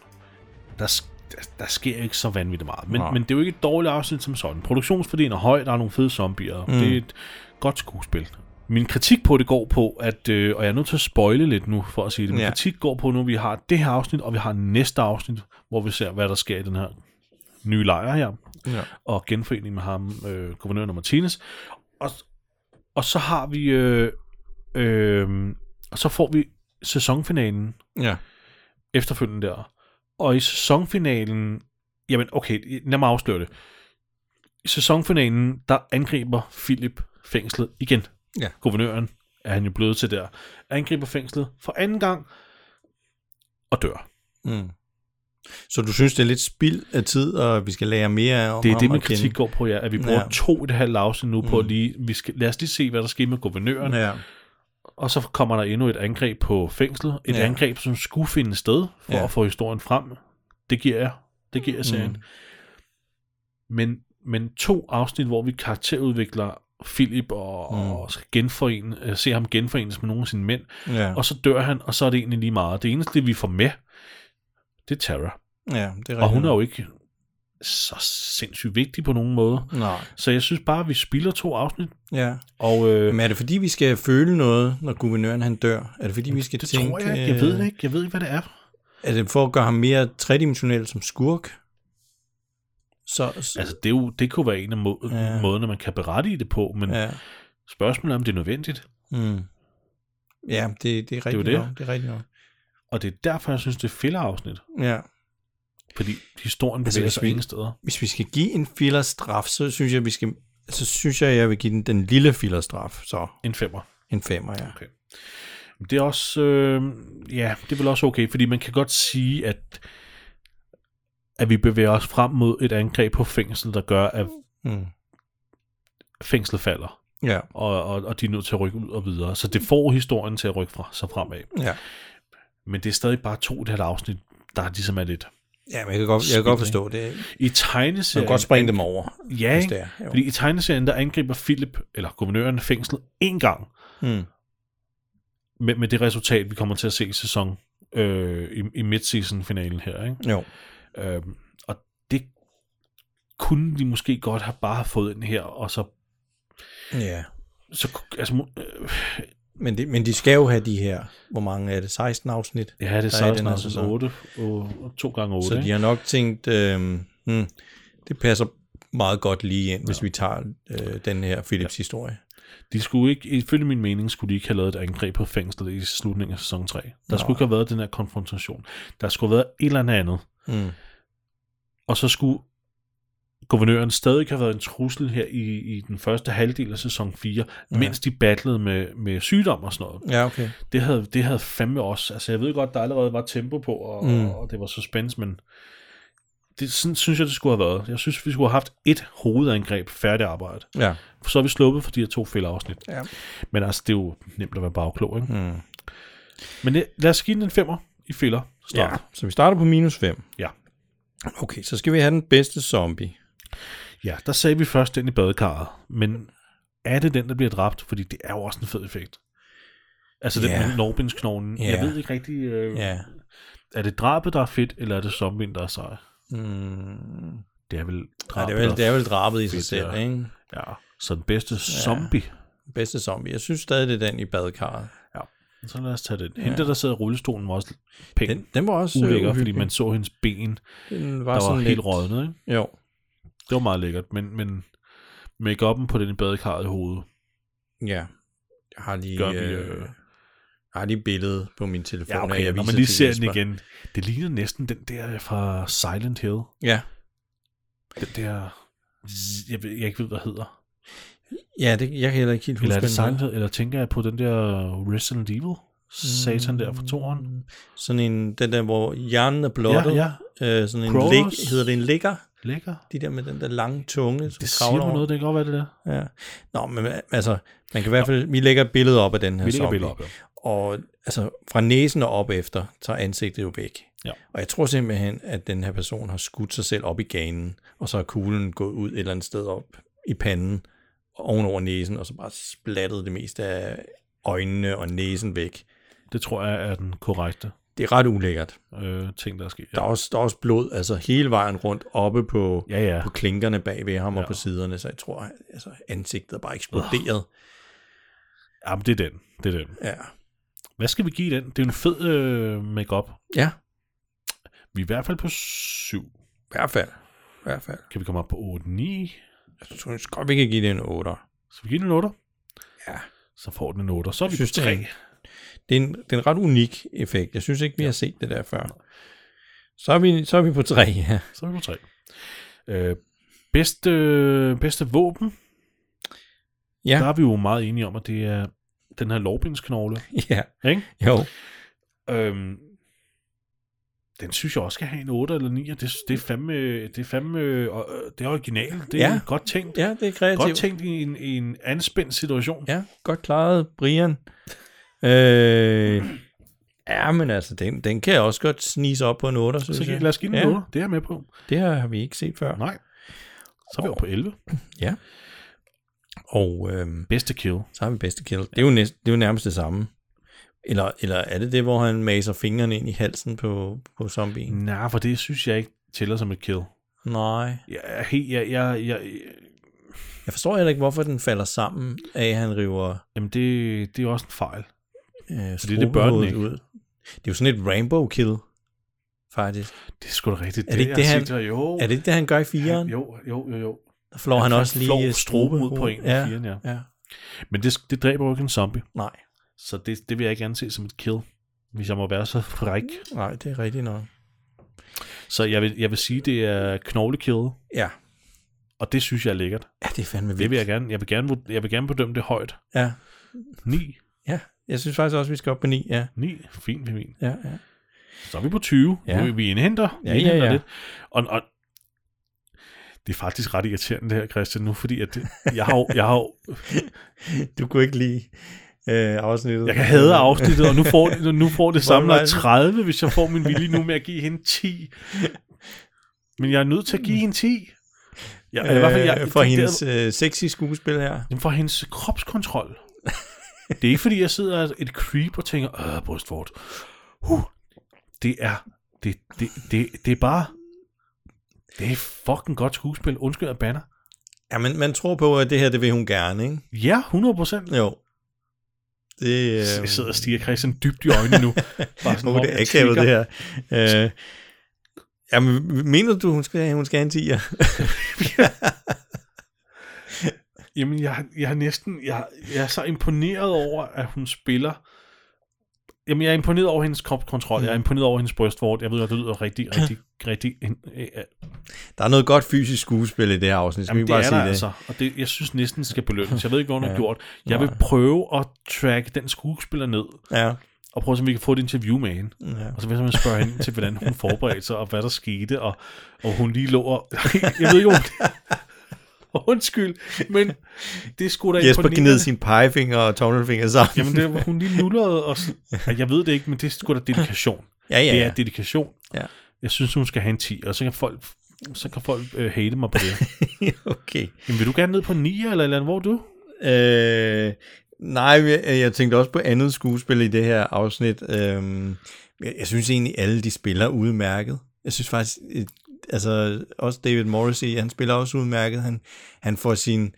Der, sk- der, der sker ikke så vanvittigt meget. Men,
Nej.
men det er jo ikke et dårligt afsnit som sådan. Produktionsværdien er høj, der er nogle fede zombier. Mm. Det er et godt skuespil. Min kritik på det går på, at, øh, og jeg er nødt til at spoile lidt nu for at sige det, min
Ja.
ja. kritik går på nu, at vi har det her afsnit, og vi har næste afsnit, hvor vi ser, hvad der sker i den her nye lejr her,
Ja.
og genforening med ham, øh, guvernøren og Martinez. Og, og så har vi, øh, øh, og så får vi sæsonfinalen,
ja.
efterfølgende der. Og i sæsonfinalen, jamen okay, lad mig afsløre det. I sæsonfinalen, der angriber Philip fængslet igen.
Ja.
Guvernøren er han jo blevet til der. Angriber fængslet for anden gang og dør.
Mm. Så du synes, det er lidt spild af tid, og vi skal lære mere om
Det er
ham
det, min
at kende?
kritik går på, ja, at vi bruger
Ja. Mm.
ja. to og et halvt afsnit nu på, at lige, vi skal, lad os lige se, hvad der sker med guvernøren, ja.
Ja.
og så kommer der endnu et angreb på fængslet, et
Ja.
ja. angreb, som skulle finde sted, for
Ja.
ja. at få historien frem. Det giver jeg, det giver jeg serien.
Mm.
men, men to afsnit, hvor vi karakterudvikler Philip og,
Mm.
mm. og skal genforene, øh, se ham genforenes med nogle af sine mænd,
Ja.
og så dør han, og så er det egentlig lige meget. Det eneste, vi får med, det er Tara.
ja, det er
Og hun
rigtigt.
er jo ikke så sindssygt vigtig på nogen måde.
Nej.
Så jeg synes bare, at vi spilder to afsnit.
Ja.
Og øh,
Men er det fordi, vi skal føle noget, når guvernøren han dør? Er det fordi, vi skal
det
tænke... øh,
tror jeg ikke. Jeg ved det ikke. Jeg ved ikke, hvad det er.
Er det for at gøre ham mere tredimensionel som skurk? Så, så
Altså, det, er jo, det kunne være en af må-
Ja.
ja. måderne, man kan berette det på, men ja.
ja.
spørgsmålet er, om det er nødvendigt.
Mm. Ja, det, det er rigtigt det
det.
nok. Det er rigtigt nok.
Og det er derfor, jeg synes, det er filler afsnit.
Ja.
Fordi historien
Altså,
bevæger
hvis
sig
vi-
ingen steder.
Hvis vi skal give en fillerstraf, så synes jeg, vi skal, altså, så synes jeg, jeg vil give den den lille fillerstraf, så
En femmer.
en femmer, ja.
Okay. Men Det er også, øh, ja, det er vel også okay, fordi man kan godt sige, at at vi bevæger os frem mod et angreb på fængsel, der gør, at
Mm.
fængslet falder,
Ja,
og, og, og de er nødt til at rykke ud og videre. Så det får historien til at rykke fra sig fremad.
ja.
Men det er stadig bare to det her afsnit, der ligesom er lidt.
Ja, men jeg kan godt, jeg kan godt forstå det.
I
Man
tegneserien...
kan godt springe dem over.
Ja,
hvis
ikke?
det er, jo.
fordi i tegneserien, der angriber Philip, eller guvernøren, fængslet én gang.
Mm.
Med, med det resultat, vi kommer til at se i sæson øh, i, i midseason-finalen her. Ikke?
Jo.
Øhm, og det kunne de måske godt have bare fået ind her, og så...
Ja.
så ku- altså, mu- øh,
Men, det, men de skal jo have de her, hvor mange er det, 16 afsnit?
ja, det er
der i den
16
her
afsnit
sæson.
8, og, og 2 gange 8.
Så de har nok tænkt, øh, hmm, det passer meget godt lige ind, ja. hvis vi tager øh, den her Philips ja. historie.
De skulle ikke, ifølge min mening, skulle de ikke have lavet et angreb på fængslet i slutningen af sæson 3. Der Nå. skulle ikke have været den her konfrontation. Der skulle have været et eller andet andet.
Mm.
Og så skulle guvernøren stadig have været en trussel her i, i den første halvdel af sæson 4, ja. mens de battlede med, med sygdom og sådan noget.
Ja, okay.
Det havde, det havde fandme også. Altså, jeg ved godt, der allerede var tempo på, og,
Mm.
mm. og det var suspense, men det, sådan synes jeg, det skulle have været. Jeg synes, vi skulle have haft et hovedangreb færdig arbejde.
Ja.
Så er vi sluppet for de her to fældeafsnit.
Ja.
Men altså, det er jo nemt at være bagklog, ikke? Mm. Men det- lad os give den en femmer i filler. Start.
ja. Så vi starter på minus 5.
Ja.
Okay, så skal vi have den bedste zombie.
ja, der sagde vi først den i badekarret, men er det den, der bliver dræbt? Fordi det er jo også en fed effekt. Altså den
Ja.
med Norbinsknoglen.
Ja.
Jeg ved ikke rigtig, øh,
Ja.
er det drabet, der er fedt, eller er det zombien, der er sej?
Mm.
Det er vel
Ja,
drabet,
det, er vel, det er vel drabet i sig
fedt,
selv,
ja.
ikke?
Ja, så den bedste zombie.
Bedste zombie. Jeg synes stadig, det er den i badekarret.
Ja. Så lad os tage den. Hende, der sidder i rullestolen, var også pænt
Den, den var også øh,
ulækker, fordi
uhyggelig.
man så hendes ben,
den
der var
sådan
helt
lidt-
rådnet, ikke?
Jo.
Det var meget lækkert, men, men make-up'en på den i badekarret i hovedet.
Ja. Jeg har lige,
Gør vi,
øh,
øh,
jeg har lige billedet på min telefon.
Ja,
og jeg
okay, når
viser
man lige
til
ser den
Jesper.
igen. Det ligner næsten den der fra Silent Hill.
Ja.
Den der,
Mm.
jeg, ved, jeg ikke ved, hvad hedder.
Ja, det, jeg kan heller ikke helt huske,
Eller er det
hvad den
Silent Hill, eller tænker jeg på den der Resident Evil? Satan der fra toren.
hedder. Sådan en, den der, hvor hjernen er blottet.
Ja,
Øh, sådan en
Crawlers.
lig, hedder det en ligger?
Lækker.
De der med den der lange tunge, som
Det siger
kravler
mig
over.
noget, det kan godt være det der.
Ja. Nå, men altså, man kan i hvert fald, vi lægger et billede op af den her
Vi lægger
zombie.
billeder op, ja.
Og altså, fra næsen og op efter, tager ansigtet jo væk.
Ja.
Og jeg tror simpelthen, at den her person har skudt sig selv op i ganen, og så er kuglen gået ud et eller andet sted op i panden, og ovenover næsen, og så bare splattet det meste af øjnene og næsen væk.
Det tror jeg er den korrekte
Det er ret ulækkert.
øh, ting, der er sket.
Der er, også, der er også blod, altså hele vejen rundt, oppe på,
Ja, ja.
på klinkerne bag ved ham ja. og på siderne, så jeg tror, altså, ansigtet er bare eksploderet.
Jamen, det er den. Det er den.
Ja.
Hvad skal vi give den? Det er jo en fed øh, makeup.
ja,
Vi er i hvert fald på 7.
i hvert fald. I hvert fald.
Kan vi komme op på 8, 9?
Jeg synes godt, vi kan give det en 8.
Så vi giver den en 8.
Ja.
Så får den en 8. Så er vi
synes,
synes, på
det er
3.
en- Det er, en, det er en ret unik effekt. Jeg synes ikke, vi ja. har set det der før. Så er vi, så er vi på 3, ja.
Så er vi på 3. Øh, bedste, øh, bedste våben.
Ja.
Ja. Der er vi jo meget enige om, at det er den her lovbindsknogle.
ja.
Ikke?
Jo.
Øhm, den synes jeg også skal have en 8 eller 9. og Det, det er fandme, det er fandme, øh, øh, det er originalt. Det er
Ja.
ja. godt tænkt.
Ja, det er kreativt.
Godt tænkt i en, i en anspændt situation.
Ja, godt klaret, Brian. Øh, ja, men altså, den, den kan jeg også godt snise op på en 8, synes
Så kan
jeg.
lad os give den ja.
ja,
8. Det er jeg med på.
Det her har vi ikke set før.
Nej. Så er vi oppe på 11.
Ja. Og øhm,
Bedste kill.
så har vi bedste kill. Det er jo, næst, det er jo nærmest det samme. Eller, eller er det det, hvor han maser fingrene ind i halsen på, på zombien?
Mm. Nej, for det synes jeg ikke tæller som et kill.
Nej.
Jeg, er helt, jeg, jeg, jeg,
Jeg forstår heller ikke, hvorfor den falder sammen, af at han river
jamen det, det er også en fejl.
øh,
Fordi det bør den
strubehovedet
ikke.
ud. Det er jo sådan et Rainbow Kill, faktisk.
Det er sgu da rigtigt.
Er det ikke
jeg
det,
har
han-
set, jo,
Er det ikke det, han gør i fireren?
jo, jo, jo, jo.
Der flår han,
Han
også
flår
lige
struben ud på
strubehovedet.
en i fireren, ja.
ja.
Men det, det dræber jo ikke en zombie,
Nej,
så det, det vil jeg ikke anse som et kill, hvis jeg må være så fræk.
nej, det er rigtigt nok.
Så jeg vil, jeg vil sige, det er knoglekill,
Ja,
og det synes jeg er lækkert.
ja det er fandme vildt.
Det vil jeg gerne. Jeg vil gerne, vurd- jeg vil gerne bedømme det højt.
Ja,
9.
ja. Jeg synes faktisk også, vi skal op på 9. Ja,
9. Fint, fint.
ja, ja.
Så er vi på 20.
Ja.
Ja. Vi indhenter, vi
Ja, ja,
indhenter
ja.
lidt. Og, og, det er faktisk ret irriterende det her, Christian, nu, fordi at det, jeg har, jo- jeg har jo-
Du kunne ikke lide øh, afsnittet.
jeg kan hade afsnittet, og nu får, nu får det samlet
Bottom
30, hvis jeg får min vilje nu med at give hende 10. Men jeg er nødt til at give hende 10. Jeg, i hvert fald,
Øh, for
det- det-
hendes øh, sexy skuespil her.
Jamen for hendes kropskontrol. Det er ikke fordi, jeg sidder et creep og tænker, øh, brystvort. Huh. Det er, det, det, det, det er bare, det er fucking godt skuespil. Undskyld, jeg banner.
Ja, men man tror på, at det her, det vil hun gerne, ikke?
Ja, 100 procent.
Jo. Det, øh,
Jeg sidder og stiger Christian dybt i øjnene nu. Bare
oh,
om
det er
jeg
akavet, det
trigger.
her. Øh, jamen, mener du, hun skal, hun skal have en 10'er?
Jamen, jeg, jeg har næsten, jeg, jeg er så imponeret over, at hun spiller. Jamen, jeg er imponeret over hendes kropskontrol.
Mm.
Jeg er imponeret over hendes brystvort. Jeg ved, at det lyder rigtig, rigtig, rigtig, øh,
Der er noget godt fysisk skuespil i det her afsnit, skal
Jamen,
vi
det
bare
er
sige
der
det?
altså, og det, jeg synes næsten det skal belønnes. Jeg ved ikke, hvad hun har
Ja.
gjort. Jeg
Nej.
vil prøve at tracke den skuespiller ned,
Ja,
og prøve, om vi kan få et interview med hende.
ja.
Og så vil jeg simpelthen spørge hende til, hvordan hun forberedte sig, og hvad der skete, og, og hun lige lå og... jeg ved jo... Undskyld, men det skulle da
Jesper gned
imponerende.
sin pegefinger og tommelfinger sammen.
Jamen, det, var- hun lige nullerede os. Ej, Jeg ved det ikke, men det er sgu da dedikation.
ja, ja,
Det
ja.
er dedikation.
Ja.
Jeg synes, hun skal have en 10, og så kan folk, så kan folk øh, hate mig på det.
okay.
Jamen, vil du gerne ned på en 9 eller et eller andet? Hvor er du?
Øh, nej, jeg, jeg tænkte også på andet skuespil i det her afsnit. Øhm, jeg, jeg synes egentlig, alle de spiller udmærket. Jeg synes faktisk, øh, altså også David Morrissey, han spiller også udmærket. Han, han får sine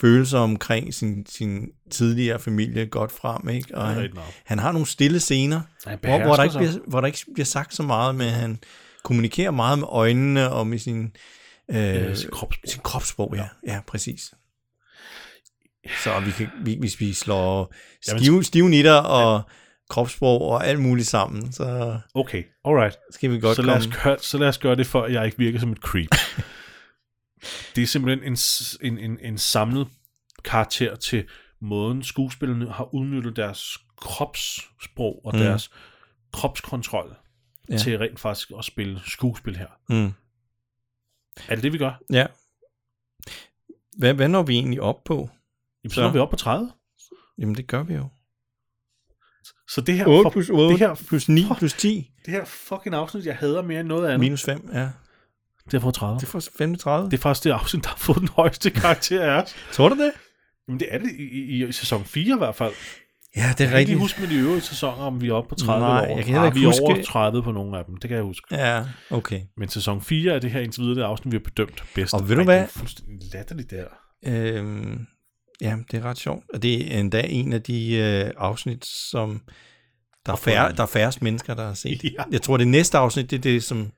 følelser omkring sin, sin tidligere familie godt frem, ikke? Og
Det er
han,
rigtigt nok.
han har nogle stille scener,
Han
hvor, hvor, der
behersker
ikke
sig.
bliver, hvor der ikke bliver sagt så meget, men han kommunikerer meget med øjnene og med sin, øh,
sit kropssprog.
Sin kropssprog, ja. ja, præcis. Så vi kan, vi, hvis vi slår stive, stive nitter og kropssprog og alt muligt sammen, så
Okay, alright.
skal vi godt
så, lad
komme...
os køre, så lad os gøre det, for at jeg ikke virker som et creep. det er simpelthen en, s- en, en, en samlet karakter til måden, skuespillerne har udnyttet deres kropssprog og mm. deres kropskontrol
Ja.
ja. til rent faktisk at spille skuespil her.
Mm.
Er det det, vi gør?
Ja. Hvad, hvad når vi egentlig op på?
Jamen, så
Så.
når vi op på 30.
Jamen, det gør vi jo.
Så det her,
8
for-
plus 8
det her,
plus 9 plus 10
det her fucking afsnit, jeg hader mere end noget andet,
minus 5, ja.
det har fået 30.
Det
Det,
får 35.
det er faktisk det afsnit, der har fået den højeste karakter af os.
tror du det?
Jamen det er det i, i, i sæson 4 i hvert fald.
Ja, det er
Jeg kan ikke
rigtigt.
lige huske med de øvrige sæsoner, om vi er oppe på 30
Nej,
eller over.
jeg kan heller
Ah,
ikke
vi er over
huske-
30 på nogle af dem, det kan jeg huske.
Ja, okay.
Men sæson 4 er det her indtil videre det afsnit, vi har bedømt bedst.
Og ved du
Ej, det er
hvad?
fuldstændig latterligt der.
Øhm, ja, det er ret sjovt. Og det er endda en af de øh, afsnit, som der er, færre, der er færrest mennesker, der har set.
Ja.
Jeg tror, det næste afsnit, det er det, som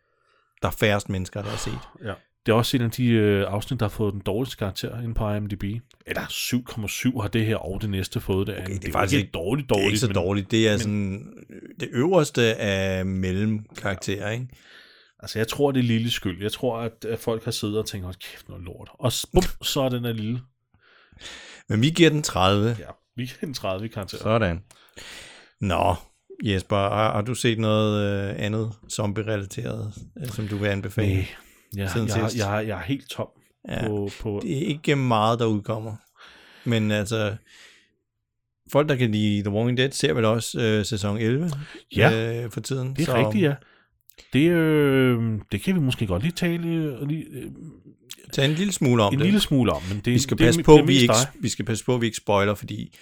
der er færrest mennesker, der har set.
Ja. Det er også en af de øh, afsnit, der har fået den dårligste karakter inde på IMDb. Eller 7,7 har det her og det næste fået det. andet.
det er
jo
faktisk
ikke
ikke-
dårligt
Det er
dårligt.
ikke så
men
dårligt. Det er sådan øh, det øverste af mellemkarakterer, ikke?
Altså, jeg tror, det er lille skyld. Jeg tror, at, at folk har siddet og tænkt, hold kæft, noget lort. Og s- bum, så er den der lille.
Men vi giver den 30.
Ja, vi er en 30 karakter.
Sådan. Nå, Jesper, har, har du set noget øh, andet zombie-relateret, øh, som du vil anbefale?
Nej, jeg,
Siden
jeg,
sidst.
jeg, jeg, er helt tom
Ja.
på, på
det er ikke meget, der udkommer. Men altså, folk, der kan lide The Walking Dead, ser vel også øh, sæson 11
Ja.
øh, for tiden.
Det er så, rigtigt, ja. Det, øh, det kan vi måske godt lige tale øh, lige, øh,
Tag en lille smule om
en
det.
lille smule om. Men det,
vi, skal
det,
passe
det,
på,
det er
vi,
mest
ikke,
dig.
vi skal passe på, at vi ikke spoiler, fordi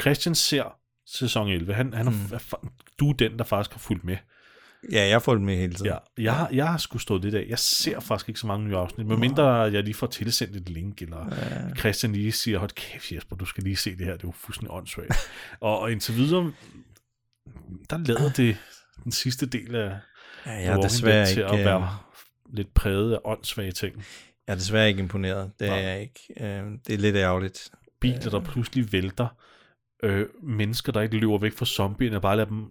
Christian ser sæson 11. Han, han mm. er, fa- du er den, der faktisk har fulgt med.
Ja, jeg får det med hele tiden.
Ja, jeg, har- jeg har sgu stået lidt af. Jeg ser faktisk ikke så mange nye afsnit, medmindre jeg lige får tilsendt et link, eller ja. Christian lige siger, hold kæft Jesper, du skal lige se det her, det er jo fuldstændig åndssvagt. og, og indtil videre, der lader det den sidste del af
Ja,
The
jeg, er
Walking
desværre
Dead til
ikke,
at
øh,
være lidt præget af åndssvage ting.
jeg er desværre ikke imponeret. Det er
Nej.
jeg ikke. Øh, det er lidt ærgerligt.
Biler, der pludselig vælter. Øh, mennesker, der ikke løber væk fra zombierne, bare lader dem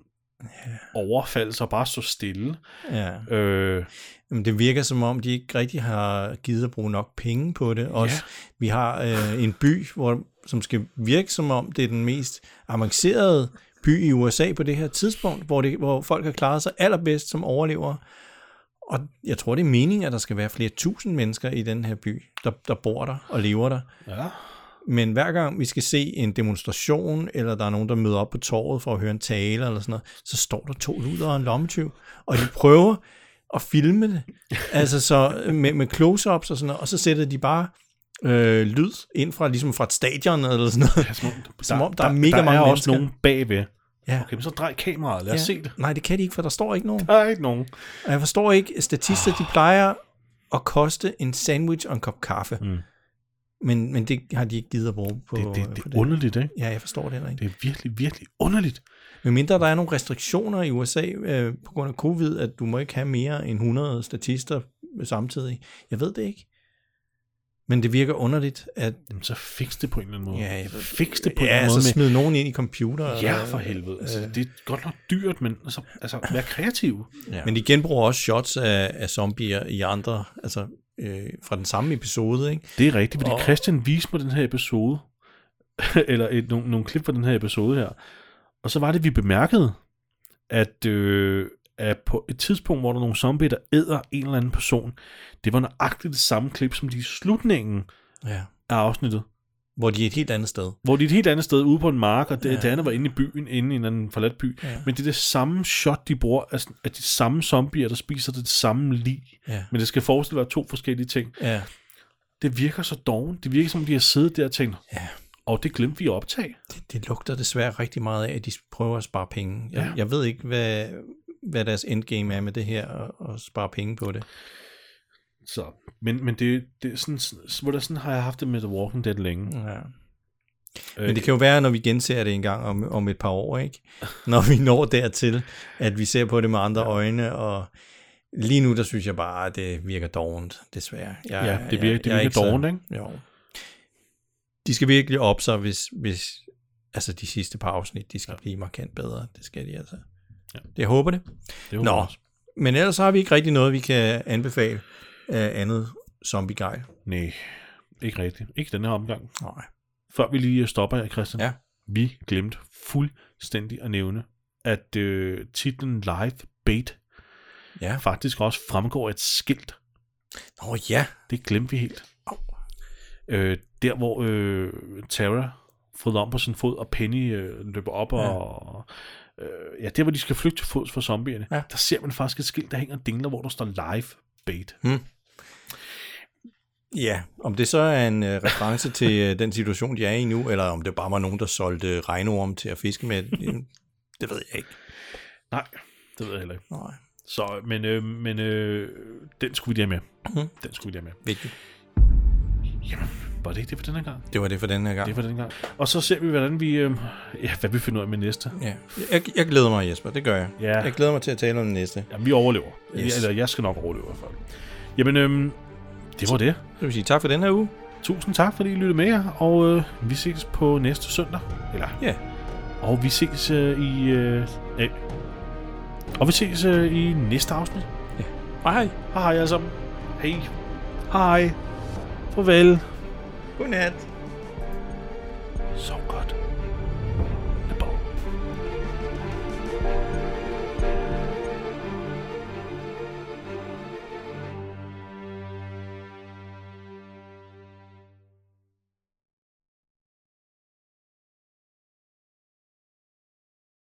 overfalde sig og bare stå stille.
Ja.
Øh,
Jamen, det virker som om, de ikke rigtig har givet at bruge nok penge på det. Også, Vi har øh, en by, hvor, som skal virke som om, det er den mest avancerede by i USA på det her tidspunkt, hvor, det, hvor folk har klaret sig allerbedst som overlever. Og jeg tror, det er meningen, at der skal være flere tusind mennesker i den her by, der, der bor der og lever der.
ja.
Men hver gang vi skal se en demonstration, eller der er nogen, der møder op på torvet for at høre en tale eller sådan noget, så står der to luder og en lommetyv, og de prøver at filme det, altså så med, med close-ups og sådan noget, og så sætter de bare øh, lyd ind fra, ligesom fra et stadion eller sådan noget.
Som om der,
Som om der er mega
der
mange
er også
mennesker.
nogen bagved.
Ja.
Okay, men så drej kameraet, lad os se det.
Nej, det kan de ikke, for der står ikke nogen.
Der er ikke nogen.
Og jeg forstår ikke, statister, de plejer at koste en sandwich og en kop kaffe. Mm. Men, men det har de ikke givet at bruge på øh,
Det, det,
på
det er underligt, ikke?
Ja, jeg forstår det heller ikke.
Det er virkelig, virkelig underligt.
Medmindre der er nogle restriktioner i USA øh, på grund af covid, at du må ikke have mere end 100 statister samtidig. Jeg ved det ikke. Men det virker underligt, at
Jamen, så fix det på en eller anden måde.
Ja, jeg ved-
fix det på en
ja,
eller anden
så
måde. med-
smide nogen ind i computer.
Ja,
øh,
for helvede. Altså, det er godt nok dyrt, men altså, altså vær kreativ.
Ja. Men de genbruger også shots af, af zombier i andre, altså øh, fra den samme episode, ikke?
Det er rigtigt, fordi
Og-
Christian viste mig den her episode, eller et, nogle, nogle klip fra den her episode her, og så var det, vi bemærkede, at, øh, at på et tidspunkt, hvor der er nogle zombier, der æder en eller anden person, det var nøjagtigt det samme klip, som de i slutningen
Ja.
af afsnittet,
Hvor de er et helt andet sted.
hvor de er et helt andet sted ude på en mark, og det, ja. det andet var inde i byen, inde i en eller anden forladt by, ja. men det er det samme shot, de bruger, altså, at de samme zombier, der spiser det samme lig,
Ja.
men det skal forestille at være to forskellige ting,
Ja.
det virker så doven. Det virker som, de har siddet der og tænkt, ja. og det glemte vi at optage.
Det, det lugter desværre rigtig meget af, at de prøver at spare penge. Jeg,
Ja.
ja. jeg ved ikke, hvad, hvad deres endgame er med det her, og, og spare penge på det.
Så. Men, men det, det er sådan, hvor der sådan har jeg haft det med The Walking Dead længe. Øh, Mm.
Ja. Øh, Men det kan jo være, når vi genser det en gang om, om et par år, ikke? Når vi når dertil, at vi ser på det med andre øjne, og lige nu, der synes jeg bare, at det virker dovent, desværre. Jeg,
Ja, det virker- det
er
virker
så-
dovent, ikke?
Jo. De skal virkelig op sig, hvis, hvis altså de sidste par afsnit, de skal blive markant bedre. Det skal de altså. Ja. Det jeg håber det.
det var
Nå, men ellers har vi ikke rigtig noget, vi kan anbefale af andet zombie-gejl.
Nej, ikke rigtigt. Ikke den her omgang.
Nej.
Før vi lige stopper her, Christian.
Ja.
Vi glemte fuldstændig at nævne, at øh, titlen Live Bait
Ja.
faktisk også fremgår af et skilt.
Nå ja.
Det glemte vi helt. Øh, der, hvor øh, Tara fryder om på sin fod, og Penny øh, løber op, ja. og øh, ja, der, hvor de skal flygte til fods fra zombierne, ja.
Ja.
der ser man faktisk et skilt, der hænger og dingler, hvor der står live bait.
Ja, om det så er en øh, reference til øh, den situation, de er i nu, eller om det bare var nogen, der solgte regnorm til at fiske med, det, det ved jeg ikke.
Nej, det ved jeg heller ikke.
Nej,
Så, men, øh, men øh, den skulle vi lige have med. Mm. Den skulle vi lige have med.
vigtigt.
Var det ikke det for den her gang?
Det var det for den her gang.
Det var den gang. Og så ser vi, hvordan vi, øh, ja, hvad vi finder ud af med næste.
Ja. Jeg, jeg glæder mig, Jesper, det gør jeg.
Ja.
Jeg glæder mig til at tale om den næste.
Jamen, vi overlever. Yes.
Yes.
Eller jeg skal nok overleve i hvert fald. Jamen, øh, det var det.
Så vil jeg sige tak for den her uge.
Tusind tak, fordi I lyttede med jer, og øh, vi ses på næste søndag. Eller,
Ja,
og vi ses øh, i... Øh, øh, og vi ses øh, i næste afsnit.
hej hej.
Hej hej alle sammen. Hej. Hej. Farvel.
Godnat.